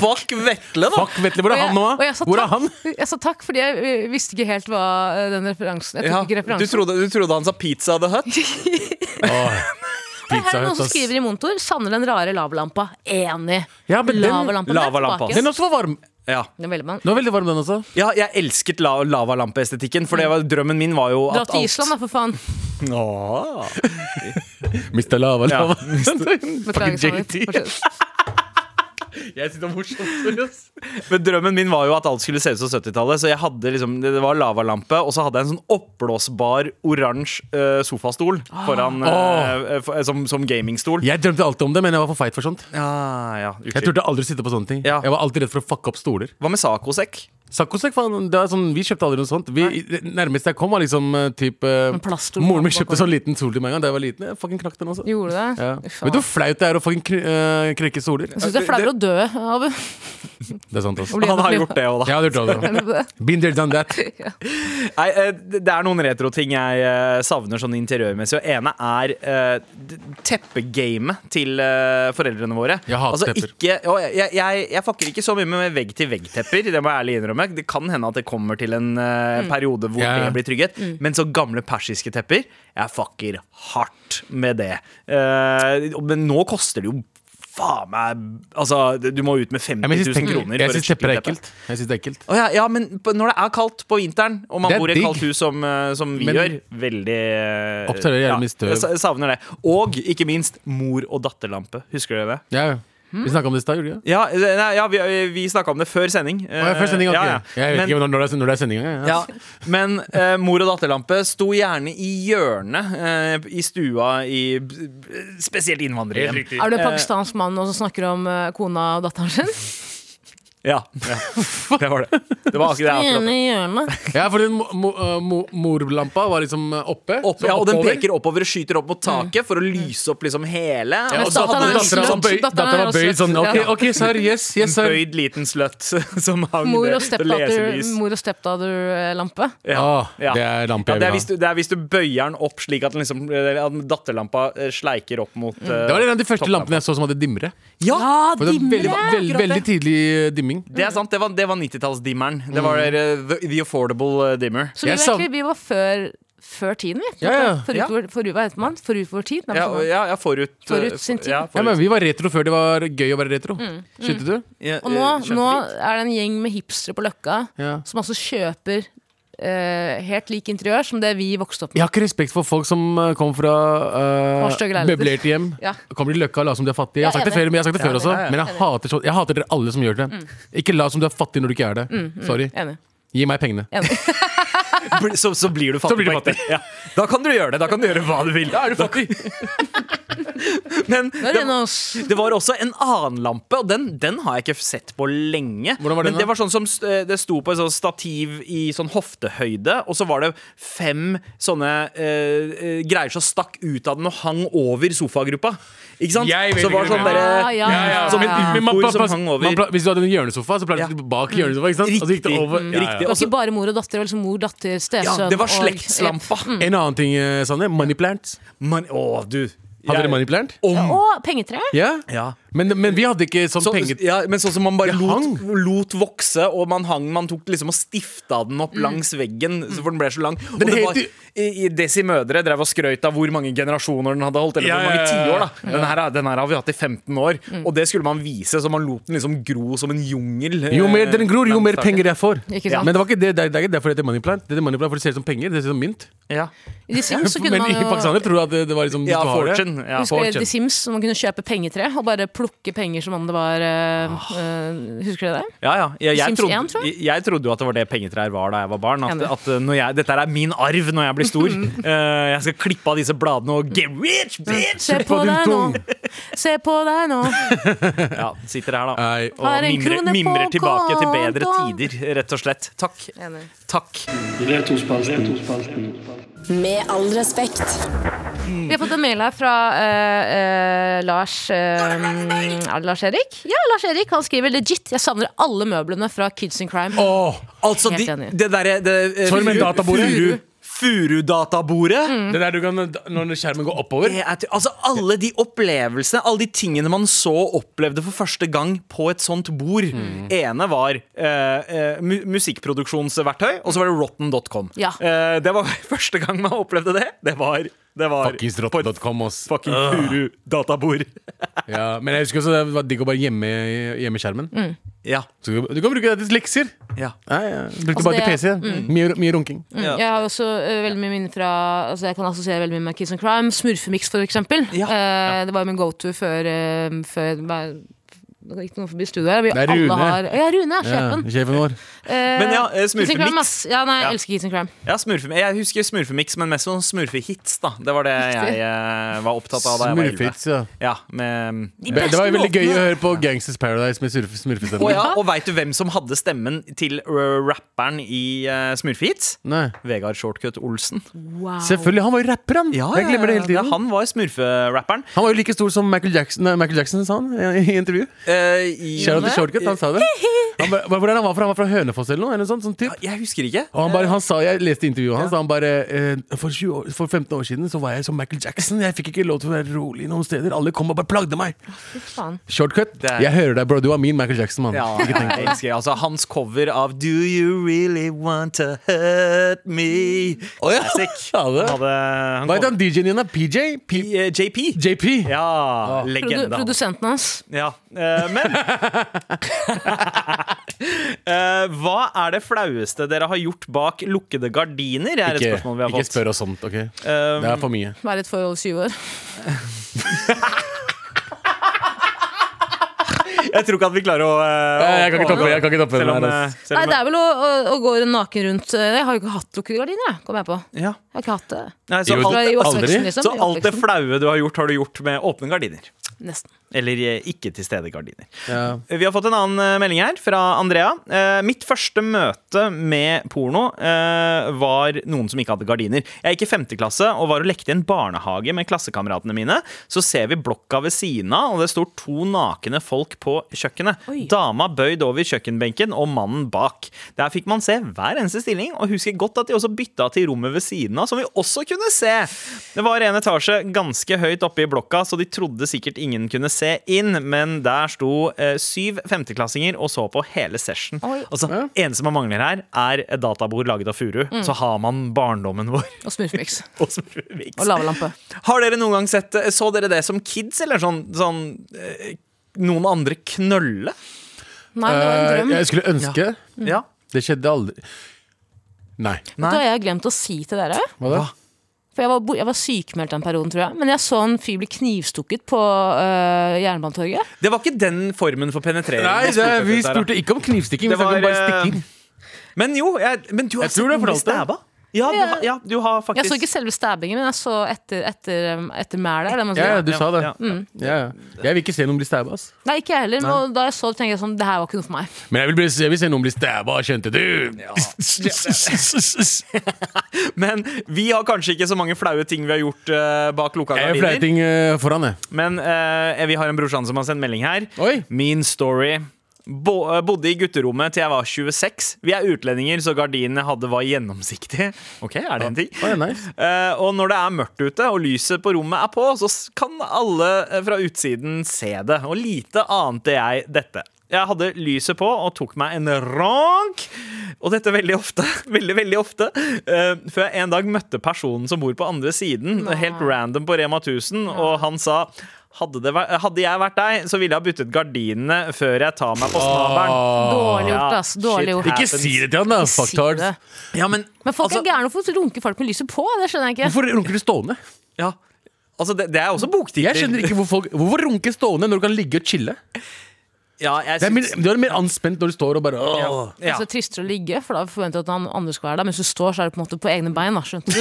C: Fuck Vetle, da!
D: Fuck, vet du hvor er han nå?
B: og
D: da?
B: jeg sa
D: Hvor er
B: takk.
D: han?
B: Jeg sa takk, fordi jeg eh, visste ikke helt hva eh, den referansen Jeg tok
C: Ja,
B: ikke
C: du,
B: referansen.
C: trodde, du trodde han sa Pizza the Hut?
D: Åh,
B: Her er
D: Pizza
B: det noen
D: Hut,
B: som
D: ass.
B: skriver i monitor 'savner den rare lavalampa'. Enig.
D: Ja, men den-
B: Lavalampen er
C: Lavalampa,
B: tilbake.
C: ass.
D: Den også var varm.
C: Ja.
B: Den er veldig mann.
D: Den var veldig varm, den også.
C: ja, jeg elsket la lavalampeestetikken, for det var, drømmen min var jo
B: Dra
C: at
B: til Island, da, for faen.
C: Åh.
D: Mr. Lava Lava.
B: Beklager, Sander.
D: JT.
B: Fortsett.
D: Jeg synes det var morsomt. ass.
C: Men drømmen min var jo at alt skulle se ut som 70-tallet. Så jeg hadde liksom, det det var lavalampe, og så hadde jeg en sånn oppblåsbar oransje eh, sofastol
B: Ah.
C: foran, eh, eh, for, eh, som, som gamingstol.
D: Jeg drømte alltid om det, men jeg var for feit for sånt.
C: Ja, ja, unnskyld.
D: Jeg turte aldri å sitte på sånne ting.
C: Ja.
D: Jeg var alltid redd for å fucke opp stoler.
C: Hva med sacosekk?
D: Saccosekk, faen. Det er sånn, vi kjøpte aldri noe sånt. Vi, det nærmeste jeg kom, var liksom eh, typ eh,
B: En plaststol
D: Moren min
B: bak-
D: kjøpte sånn liten stol til meg en gang da jeg var liten. Jeg fucking knakk den også.
B: Gjorde du det?
D: Ja.
B: Fy
D: Vet
B: faen. Altså-
D: du hvor flaut det er å fucking kn eh, knekke stoler?
B: Jeg syns det er flauere å dø av å
D: Det er sant, altså.
B: bli
C: Han har gjort det òg,
D: Jeg
C: da.
D: hadde gjort det.
B: det.
D: også. Been there, done that.
C: Nei, eh, det det er noen retroting jeg eh, savner sånn interiørmessig. Og ene er eh, d- teppegamet til eh, foreldrene våre. Altså,
D: Jeg hater tepper.
C: Ikke, og jeg, jeg, jeg fucker ikke så mye med vegg-til-vegg-tepper. Det må jeg ærlig innrømme. Det kan hende at det kommer til en eh, periode hvor
D: Ja, ja.
C: det blir trygghet. Men så gamle persiske tepper, jeg fucker hardt med det. Eh, men nå koster det jo faen meg Altså, du må ut med 50
D: Ja, men jeg
C: 000
D: synes-
C: kroner.
D: Jeg
C: for et
D: syns tepper er
C: skikkelig teppe.
D: ekkelt. Jeg synes det er ekkelt.
C: Å ja, ja, men på- når det er kaldt på vinteren, og man
D: Det er
C: bor i et
D: digg.
C: kaldt hus som, eh, som vi
D: Men-
C: gjør, veldig eh,
D: Observerer jævlig mye støv.
C: jeg sa- savner det. Og ikke minst mor- og datterlampe. Husker dere det?
D: Ja, ja. Vi snakka om det i stad, gjorde vi ikke?
C: Ja, eh, nei, ja vi, vi snakka om det før sending.
D: Å, ja, Før sending, ok.
C: Eh, Ja, ja.
D: Jeg vet
C: Men-
D: ikke når det er, når det er sending engang.
C: ja, men eh, mor og datterlampe sto gjerne i hjørnet eh, i stua i b- b- spesielt innvandrerhjem.
B: Er du en pakistansk mann nå som snakker om eh, kona og datteren sin?
C: Ja, ja, det var det. Det var akkurat det. jeg akkurat.
B: Gjerne i hjørnet.
D: Ja, for den mo mo eh, mo morlampa var liksom eh, oppe.
C: Opp,
D: så
C: ja, og den
D: oppover.
C: peker oppover og skyter opp mot taket for å lyse opp liksom hele.
D: Ja, og
B: Mens datteren er
D: datteren- datteren var
B: sløtt.
D: bøyd-
B: Datteren
D: datteren
B: er
D: var bøyd
B: sløtt.
D: sånn. Ok,
B: Ja.
D: ok, sir. Yes, yes,
C: En
D: sir.
C: bøyd liten sløtt som hang
B: Mor
C: det-
B: og
C: det
B: stepdatter,
C: leselys.
B: mor og stepdatter-lampe.
C: Ja,
D: Ah,
C: ja.
D: Det er lampe
C: Ja,
D: jeg
C: det, er
D: vil
C: hvis
D: ha.
C: du, det er hvis du bøyer den opp slik at, den liksom, eh, at datterlampa eh, sleiker opp
B: Mm.
C: mot eh,
D: Det var en av de første lampene jeg så som hadde dimre.
C: Ja!
D: For det var veldig, veldig, veldig tidlig eh, dimming.
C: Det er sant, det var, det var 90-tallsdimmeren. Det
D: Mm.
C: var eh, the, the Affordable eh, Dimmer.
B: Så vi,
D: Jeg
B: var
D: savn-
B: egentlig, vi var før, før tiden, vi.
D: Ja, ja.
B: Forut,
C: Ja.
B: vår- forut, hva heter man? Forut vår tid? Nei,
C: Ja,
B: men
C: og-
B: sånn.
C: ja, ja forut, eh,
B: Forut sin tid.
C: Ja,
D: Ja, men
C: forut.
D: Vi var retro før det var gøy å være retro. Skjønte du?
C: Ja,
B: Og nå,
C: eh, skjønte
B: nå
C: vi.
B: er det en gjeng med hipstere på Løkka
D: Ja.
B: som altså kjøper eh, helt lik interiør som det vi vokste opp med.
D: Jeg har ikke respekt for folk som eh, kom fra
B: Har stygge
D: uh,
B: leiligheter.
D: møblerte hjem.
B: Ja.
D: Kommer til Løkka og later som de er fattige. Jeg har sagt det
B: enig.
D: før, men jeg har sagt det før også
C: ja, ja.
D: Men jeg hater, så, jeg hater dere alle som gjør det.
B: Mm.
D: Ikke lat som du er fattig når du ikke er det. Sorry.
B: Enig.
D: Gi meg pengene.
C: Bli- Så, så blir du fattig.
D: blir du
C: på ekte. Ja. Da kan du gjøre det. Da kan du gjøre hva du vil. Da er du fattig. men
B: Det er
C: det,
B: en av oss.
C: Det var også en annen lampe, og den, den har jeg ikke sett på lenge.
D: Hvordan var
C: Men
D: den da?
C: det var sånn som st- eh, det sto på et sånt stativ i sånn hoftehøyde, og så var det fem sånne eh, eh, greier som stakk ut av den og hang over sofagruppa. Ikke sant?
D: Jeg vet
C: så var
D: ikke
C: sånn
D: hva du
B: mener.
C: derre
B: Ah, Ja, ja, ja. Mm.
C: Som en
B: Men-
D: Men man-
C: ufor
D: man-
C: som
D: man-
C: hang
D: man
C: over.
D: pla- hvis du hadde en hjørnesofa, så pleide
C: Ja.
D: du bak hjørnesofa. Ikke sant? Og så gikk det
C: Riktig.
D: over. Ja, ja.
C: Riktig.
B: Det var
C: Også-
B: ikke bare mor og datter, det var liksom mor, datter,
C: ja,
B: stesønn.
C: det var
B: og-
C: slektslampa.
D: En annen ting, eh, Sanne. Moneyplant.
C: Man, å, du.
D: Hadde
C: Jeg-
D: dere moneyplant?
B: Ja,
C: Om.
B: Og pengetre.
D: Ja.
C: Ja.
D: Men, men vi hadde ikke sånn
C: Så,
D: penge...
C: ja, men sånn som man bare
D: Det hang.
C: lot, lot vokse, og man hang Man tok liksom og stifta den opp langs veggen, så for den ble så lang. Og det
D: het
C: var,
D: jo-
C: i, i Desi Mødre drev og skrøt av hvor mange generasjoner den hadde holdt. Eller
D: Ja,
C: hvor mange
D: ja, ja,
C: tiår,
D: ja.
C: da. Den her, er- den her har vi hatt i 15 år, og det skulle man vise, så man lot den liksom gro som en jungel. eh,
D: Jo mer den gror, jo
C: langs
D: mer
C: taket.
D: penger jeg får.
B: Ikke sant?
D: Men det var ikke det, det er det er ikke derfor det heter moneyplant. Det heter moneyplant, for det ser ut som penger. Det ser ut som mynt.
C: Ja,
B: I The Sims så kunne
D: Men
B: man
D: i
B: jo
D: pakistaner tror du at det, det var liksom
C: ja
D: du har det.
C: fortune. Ja.
B: Husker dere
D: fortune.
B: The Sims, som man kunne kjøpe pengetre og bare plukke penger som om det var eh, eh, Husker dere det?
C: Ja, ja. Jeg, jeg,
B: Sims
C: trodde,
B: 1, tror jeg.
C: jeg. jeg trodde jo at det var det pengetrær var da jeg var barn. At,
B: Enig.
C: at eh, når jeg, dette er min arv når jeg blir stor. Eh, jeg skal klippe av disse bladene og get rich,
B: Mm.
C: bitch!
B: Se på
D: din
B: deg nå!
D: tung.
B: Se på deg nå!
C: Ja, Sitter her, da.
D: Nei,
C: Og
B: Har en
C: mimrer,
B: krone på
C: mimrer tilbake til bedre
B: kontoen.
C: tider, rett og slett. Takk.
B: Enig.
C: Takk.
I: Retrospalten.
A: Med all respekt.
B: Vi har fått en mail her fra eh, eh, Lars eh, Er det Lars-Erik? Ja, Lars-Erik. Han skriver legit. Jeg savner alle møblene fra Kids in Crime.
D: Åh,
C: Altså,
B: Helt
C: de,
B: enig.
C: det derre det, eh,
D: Torment
C: furu-
D: databordet.
C: furu- Furudatabordet.
B: Mm.
D: Det der du kan, når skjermen går oppover
C: Det er til, altså Alle de opplevelsene, alle de tingene man så og opplevde for første gang på et sånt bord. ene var eh, eh, mu musikkproduksjonsverktøy, og så var det rotten.com.
B: Ja.
C: Eh, det var første gang man opplevde det. Det var, det var
D: Fuckings
C: på et
D: rotten.com, ass.
C: fucking furu-databord.
D: Ja, men jeg husker også det var digg å bare gjemme gjemme skjermen.
B: Mm.
C: ja.
D: Så du, du kan bruke det til lekser.
C: ja.
D: Ja, ja. Brukte
B: Altså,
D: bare til
B: det- Mm.
D: PC. Mye, mye runking.
C: Ja.
B: Jeg har også eh, veldig mye minner fra altså Jeg kan assosiere veldig mye med Kids and Crime. Smurfemix, for eksempel.
C: Ja.
B: Eh, Det var jo min go-to før, eh, før det gikk noen forbi studio her. Vi
D: Det er
B: alle
D: Rune.
B: Har, ja, Rune er sjefen.
D: Ja, sjefen vår.
C: Men ja, eh,
B: Kids and Crime,
C: smurfemix.
B: ass. Ja, nei, jeg
C: Ja.
B: elsker Kids and Crime.
C: Ja, smurfe, jeg husker smurfemix, men mest sånn smurfehits. da Det var det jeg eh, var opptatt av da jeg var elleve.
D: Smurfits, ja.
C: Ja, med
D: Det det var veldig gøy å høre på Gangsters Paradise med smurf- smurfestemme.
C: Å ja, og veit du hvem som hadde stemmen til øh, rapperen i uh, Smurfehits?
D: Nei.
C: Vegard Shortcut Olsen.
D: Selvfølgelig, han var jo rapper, han! jeg glemmer det hele tiden.
C: Ja,
D: han.
C: han var smurferapperen.
D: var jo like stor som Michael Jackson, nei, Michael Jackson sa han i, i intervju.
C: Eh, i-
D: Shout out til Shortcut, han sa det. Han, var- hvordan han var fra? Han var fra Hønefoss eller noe? Eller noe sånt, sånn typ.
C: Jeg husker ikke.
D: Og han bare, han sa, Jeg leste intervjuet hans. da Han bare eh, for, 20 år, for 15 år siden så var jeg som Michael Jackson. Jeg fikk ikke lov til å være rolig noen steder. Alle kom og bare plagde meg.
B: Fy faen.
D: Shortcut.
C: Det er-
D: Jeg hører deg, bro. Du var min Michael Jackson, mann.
C: Ja, jeg elsker altså, Hans cover av Do you really want to hurt me?
D: Å ja.
C: Classic.
D: Ja, det.
C: Han hadde, han
D: Hva het
C: kom,
D: han DJ-en din? da? PJ? P Ah.
C: I, eh, JP.
D: JP?
C: Ja,
B: Produ
C: legende. han.
B: produsenten hans.
C: Ja, eh, men Eh, Hva er det flaueste dere har gjort bak lukkede gardiner? Er et
D: Ikke,
C: spørsmål vi har
D: ikke
C: fått.
D: spør oss sånt, OK?
C: Um,
D: det er for mye.
B: Være i et forhold i syv år.
C: Jeg tror ikke at vi klarer å eh,
D: Nei, jeg kan ikke
C: å-
D: toppe det, jeg kan ikke toppe altså. det
C: selv om,
D: der,
C: eh,
D: ass.
C: selv
B: Nei,
C: om-
B: det er vel å, å, å gå naken rundt eh, Jeg har jo ikke hatt lukkede gardiner, jeg, kom jeg på. Jeg
C: eh, ja.
B: har ikke hatt det.
C: Nei, så,
D: Jo,
B: Fra i
C: alt,
D: aldri.
B: oppveksten, liksom. I
C: så alt det
B: oppveksten.
C: flaue du har gjort, har du gjort med åpne gardiner.
B: Nesten.
C: Eller eh, ikke til stede gardiner.
D: Ja.
C: Vi har fått en annen eh, melding her fra Andrea. Eh, mitt første møte med porno eh, var noen som ikke hadde gardiner. Jeg gikk i femte klasse og var og lekte i en barnehage med klassekameratene mine. Så ser vi blokka ved siden av, og det står to nakne folk på kjøkkenet.
B: Oi.
C: Dama bøyd over kjøkkenbenken og mannen bak. Der fikk man se hver eneste stilling, og husker godt at de også bytta til rommet ved siden av, som vi også kunne se. Det var en etasje ganske høyt oppe i blokka, så de trodde sikkert ingen kunne se inn, men der sto eh, syv femteklassinger og så på hele session.
B: Oi.
C: Altså, eneste man mangler her, er et databord laget av furu.
B: Mm.
C: Så har man barndommen vår.
B: Og smurfemix.
C: Og smurfemiks.
B: Og lavalampe.
C: Har dere noen gang sett eh, Så dere det som kids, eller sånn, sånn eh, noen andre knølle?
B: Nei, det var en drøm.
D: Eh, jeg skulle ønske
C: Ja.
D: Det skjedde aldri. Nei.
B: Mm. Vet du hva jeg har glemt å si til dere?
D: Hva da?
B: For jeg var, bo- jeg var sykemeldt den perioden, tror jeg. Men jeg så en fyr bli knivstukket på øh, Jernbanetorget.
C: Det var ikke den formen for penetrering.
D: Nei,
C: jeg
D: det,
C: spurte etter
D: vi
C: her, da.
D: spurte ikke om knivstikking.
C: Det
D: Vi snakket om
C: var,
D: bare
C: eh,
D: stikking.
C: Men jo, jeg, men du har
D: Jeg tror du har fortalt det.
C: stæba. Ja, du har, ja, du har faktisk
B: Jeg så ikke selve stabbingen, men jeg så etter, etter, øhm, etter mælet. er det man
D: Ja,
B: sier.
D: ja, du
C: Ja,
D: sa det. Mm.
C: ja,
D: Ja, ja. Jeg vil ikke se noen bli stabba. ass.
B: Nei, ikke jeg heller. Men da jeg så det, tenkte jeg sånn Det her var ikke noe for meg.
D: Men jeg vil, bli, jeg vil se noen bli stabba, skjønte du?
C: Men vi har kanskje ikke så mange flaue ting vi har gjort eh, bak lukka
D: Jeg gjør flere
C: gardiner.
D: ting eh, foran, jeg.
C: Men eh, vi har en brorsan som har sendt melding her.
D: Oi.
C: Min story. Bo eh, bodde i gutterommet til jeg var 26. Vi er utlendinger, så gardinene jeg hadde var gjennomsiktige. Ok, er det en ting?
D: Oi, nice.
C: Eh, og når det er mørkt ute og lyset på rommet er på, så s- kan alle eh, fra utsiden se det. Og lite ante jeg dette. Jeg hadde lyset på og tok meg en rank, og dette veldig ofte. veldig, veldig ofte eh, Før jeg en dag møtte personen som bor på andre siden, helt random på Rema 1000, og han sa hadde, det, væ- hadde jeg vært deg, så ville jeg ha byttet gardinene før jeg tar meg på snabelen.
B: Dårlig
C: Ja,
B: gjort, ass. Dårlig
C: Ah, shit.
B: gjort.
D: Ikke si det til han, da.
B: Si
D: Fucktards.
B: det.
C: Ja, men,
B: Men folk
C: altså-
B: er gærne. Hvorfor runker folk med lyset på? Det skjønner jeg ikke.
D: Hvorfor runker du stående?
C: Ja, altså det, det er også boktittel.
D: Jeg skjønner ikke hvor folk, Hvorfor runke stående når du kan ligge og chille?
C: ja, jeg
D: Det er mer,
C: syns-
D: du er mer anspent når du står og bare åh.
C: ja.
B: Altså, det er tristere å ligge, for da forventer du at han andre skal være der. Mens du står, så er du på en måte på egne bein. Da, skjønte du?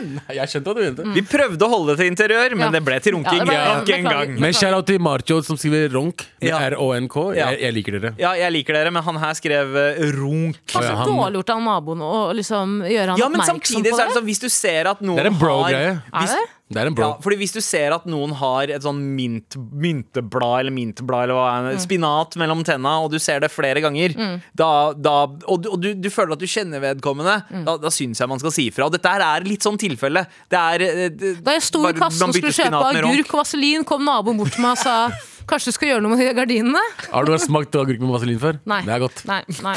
D: Nei, Jeg skjønte hva du mente.
C: Vi prøvde å holde det til interiør,
B: Mm.
C: men
B: Ja.
C: det ble til runking.
B: Ja, det ble-
C: Nok en
B: beklager.
C: gang.
D: Men shout out til Martjo som skriver ronk. Med
C: Ja.
D: R-O-N-K.
C: Ja.
D: Jeg, jeg liker dere.
C: Ja, jeg liker dere, men han her skrev eh, runk.
B: Altså,
D: Ja, han-
B: Dårlig gjort av naboen å liksom, gjøre han
C: Ja, men
B: oppmerksom
C: samtidig
B: på
C: så
B: det.
C: er det sånn, hvis du ser at noen
D: Det er en bro-greie.
C: har hvis,
B: Er det?
D: Det er en bro.
C: Ja, fordi Hvis du ser at noen har et sånn mint, mynteblad eller mintblad eller hva er det,
B: Mm.
C: spinat mellom tenna, og du ser det flere ganger, da, da, og, du, og du, du føler at du kjenner vedkommende,
B: Mm.
C: da, da syns jeg man skal si ifra. Og dette her er litt sånn tilfelle. Det er eh, det-
B: Da jeg sto i
C: bare-
B: kassen
C: man
B: og skulle
C: bytter
B: kjøpe
C: spinat med ronk.
B: agurk og vaselin, kom naboen bort til meg og sa Kanskje du skal gjøre noe med de gardinene?
D: Har du smakt agurk med vaselin før?
B: Nei.
D: Det er godt.
B: Nei, nei.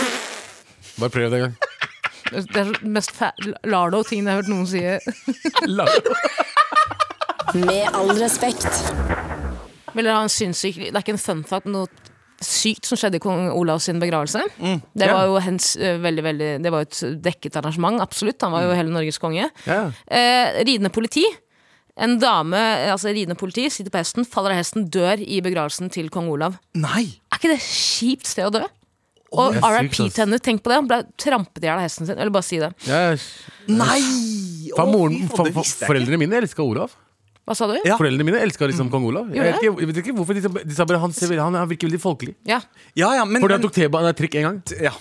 D: Bare prøv det en gang.
B: Det er den mest fa- lardo-tingen jeg har hørt noen si.
A: Med all respekt.
B: Vil dere ha en sinnssyk Det er ikke en fun fact, men noe sykt som skjedde i kong Olavs sin begravelse.
D: Mm,
B: det var jo hens, eh, veldig, veldig Det var jo et dekket arrangement, absolutt. Han var jo hele Norges konge.
D: Mm. Ja.
B: Eh, ridende politi. En dame, eh, altså ridende politi, sitter på hesten, faller av hesten, dør i begravelsen til kong Olav.
C: Nei!
B: Er ikke det et kjipt sted å dø? Og
D: det er sykt,
B: RIP til henne, tenk på det. Han ble trampet i hjel av hesten sin. Eller bare si det.
D: Ja,
C: Nei!
D: for moren,
C: Å, fy faen,
D: for,
C: det
D: for,
C: visste jeg ikke.
D: foreldrene mine elska Olav.
B: Hva sa du?
C: Ja.
D: Foreldrene mine elska liksom kong Olav. Jeg
B: Gjorde
D: vet ikke, jeg vet ikke hvorfor de, sa- de sa bare han, ser, veldig- han, han virker veldig folkelig.
B: Ja.
C: Ja, ja, men,
D: Fordi han
C: men,
D: tok T-banen nei, trikk en gang.
C: ja.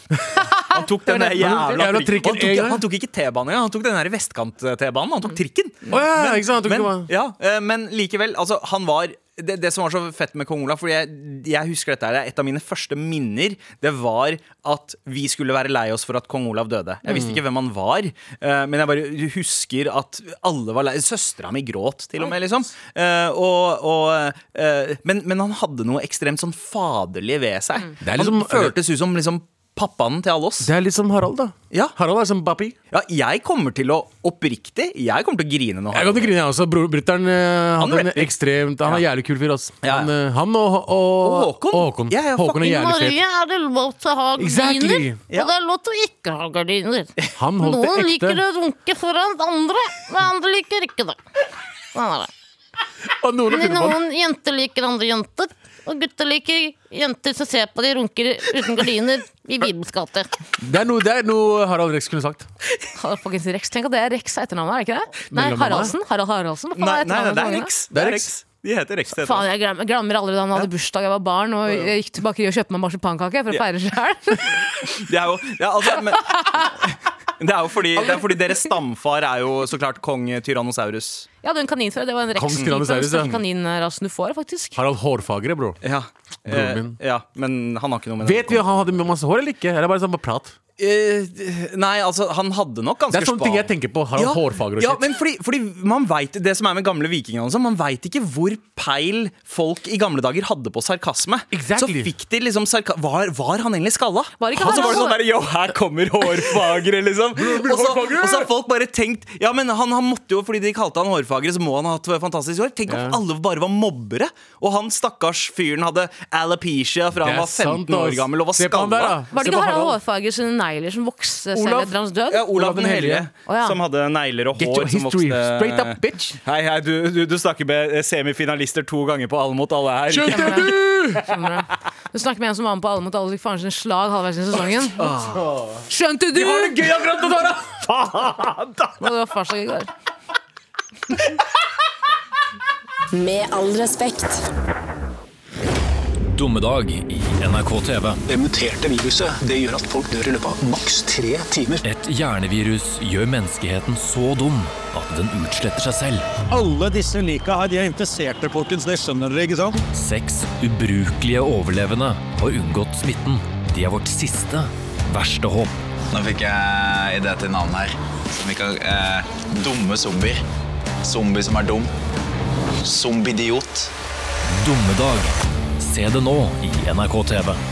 C: Han tok den der
D: Han tok
C: jævla
D: jævla
C: trikken. Han
D: trikken en
C: tok,
D: gang.
C: han tok ikke T-banen, engang, han tok den der vestkant-T-banen.
D: Mm.
C: Han tok trikken.
D: Å, ja, ja, ikke sant? Han tok
C: men,
D: T-banen.
C: ja, eh, men likevel, altså, han var det, det som var så fett med kong Olav, Fordi jeg, jeg husker dette her, det er et av mine første minner, det var at vi skulle være lei oss for at kong Olav døde. Jeg
D: Mm.
C: visste ikke hvem han var, eh, men jeg bare husker at alle var lei Søstera mi gråt, til og med, liksom. Eh, og, og, eh, men, men han hadde noe ekstremt sånn faderlig ved seg.
D: Det er liksom-
C: han føltes ut som liksom pappaen til alle oss.
D: Det er litt som Harald, da.
C: Ja.
D: Harald er som Bappi.
C: Ja, jeg kommer til å oppriktig Jeg kommer til å grine nå.
D: Jeg kan ikke grine, jeg også. Bror- Brutter'n eh, hadde en
C: rapper.
D: ekstremt Han er
C: Ja.
D: jævlig kul fyr, ass.
C: Ja, ja.
D: Han, eh, han og, og,
C: Og Håkon.
D: Håkon.
C: Ja, ja,
D: Håkon er
B: I
D: jævlig fet.
B: Norge er det lov til å ha
D: Exactly.
B: gardiner,
C: Ja.
B: og det er lov til å ikke ha gardiner.
D: Han holdt
B: Noen
D: det
B: liker
D: ekte.
B: å runke foran andre, men andre liker ikke det. Sånn er det.
D: Og noen
B: Men
D: kunne på han.
B: Noen jenter liker andre jenter, og gutter liker jenter som ser på de runker uten gardiner i Bibels gate.
D: Det er noe, det er noe Harald Rex kunne sagt.
B: Folkens, Rex, tenk at det er Rex er etternavnet, er det ikke det? Nei,
D: Mellomnavnet?
B: Haraldsen. Harald Haraldsen. Hva faen
C: Nei,
B: er
C: nei, nei,
B: etternavnet
C: det
B: til
C: er
B: kongen, da?
C: Rex.
D: Det er Rex.
C: De heter Rex. det heter
B: Faen,
C: de.
B: jeg glemmer, glemmer aldri da han hadde bursdag. Jeg var barn og jeg gikk til bakeriet og kjøpte meg marsipankake for å
C: Ja.
B: feire sjæl.
C: Det er jo, ja, altså, men, det er jo fordi, det er fordi deres stamfar er jo så klart kong Tyrannosaurus.
B: Jeg hadde en kanin før. Det var en Rex.
D: Kong
B: Den
D: Tyrannosaurus,
B: største
D: ja.
B: kaninrasen du får, faktisk.
D: Harald Hårfagre, bro.
C: Ja.
D: Broren
C: Eh,
D: min.
C: ja, men han har ikke noe med
D: Vet vi om han hadde masse hår eller ikke? Eller er det bare sånn bare prat?
C: Eh, Nei, altså, han hadde nok ganske
D: Det er sånne ting
C: span-
D: jeg tenker på. Harald Hårfagre og
C: ja,
D: shit.
C: men fordi, fordi man vet, Det som er med gamle vikinger, altså, man veit ikke hvor peil folk i gamle dager hadde på sarkasme.
D: Exactly.
C: Så fikk de liksom sarka var, var han egentlig skalla?
B: Var ikke
C: og så
B: han-
C: var det sånn der, Yo, her kommer hårfagre, liksom. og, så, og så har folk bare tenkt Ja, men han, han måtte jo, fordi de kalte han hårfagre, så må han ha hatt fantastisk hår. Tenk om alle bare var mobbere, og han stakkars fyren hadde alopecia fra
D: Det
C: han
D: er
C: var 15
D: sant, ass.
C: år gammel og var
D: Se på han der,
C: skalla.
D: da.
B: Var det
D: Se på
B: ikke Harald Hårfager sine negler som vokste selv
D: Olav.
B: etter hans død?
C: Ja, Olav den hellige,
B: Å, ja.
C: som hadde negler og
D: Get your
C: hår som
D: history
C: vokste
D: straight up, bitch.
C: Hei, hei, du, du, du snakker med semifinalister to ganger på Alle mot alle her.
D: Skjønte du?
B: Skjønner du? Du snakker med en som var med på Alle mot alle og fikk faren sin slag halvveis i sesongen. Skjønte du?! Og
C: Gøy akkurat nå, Tara! Faen, da!
B: det var farsdag i går.
A: Med all respekt.
G: Dommedag i NRK TV.
J: Det muterte viruset det gjør at folk dør i løpet av maks tre timer.
G: Et hjernevirus gjør menneskeheten så dum at den utsletter seg selv.
K: Alle disse lika her, de er infiserte, folkens. Det skjønner dere, ikke sant?
G: Seks ubrukelige overlevende har unngått smitten. De er vårt siste verste håp.
J: Nå fikk jeg idé til navn her. Som vi kan eh, Dumme zombier. Zombie som er dum. Zombidiot.
G: Dommedag. Se det nå i NRK TV.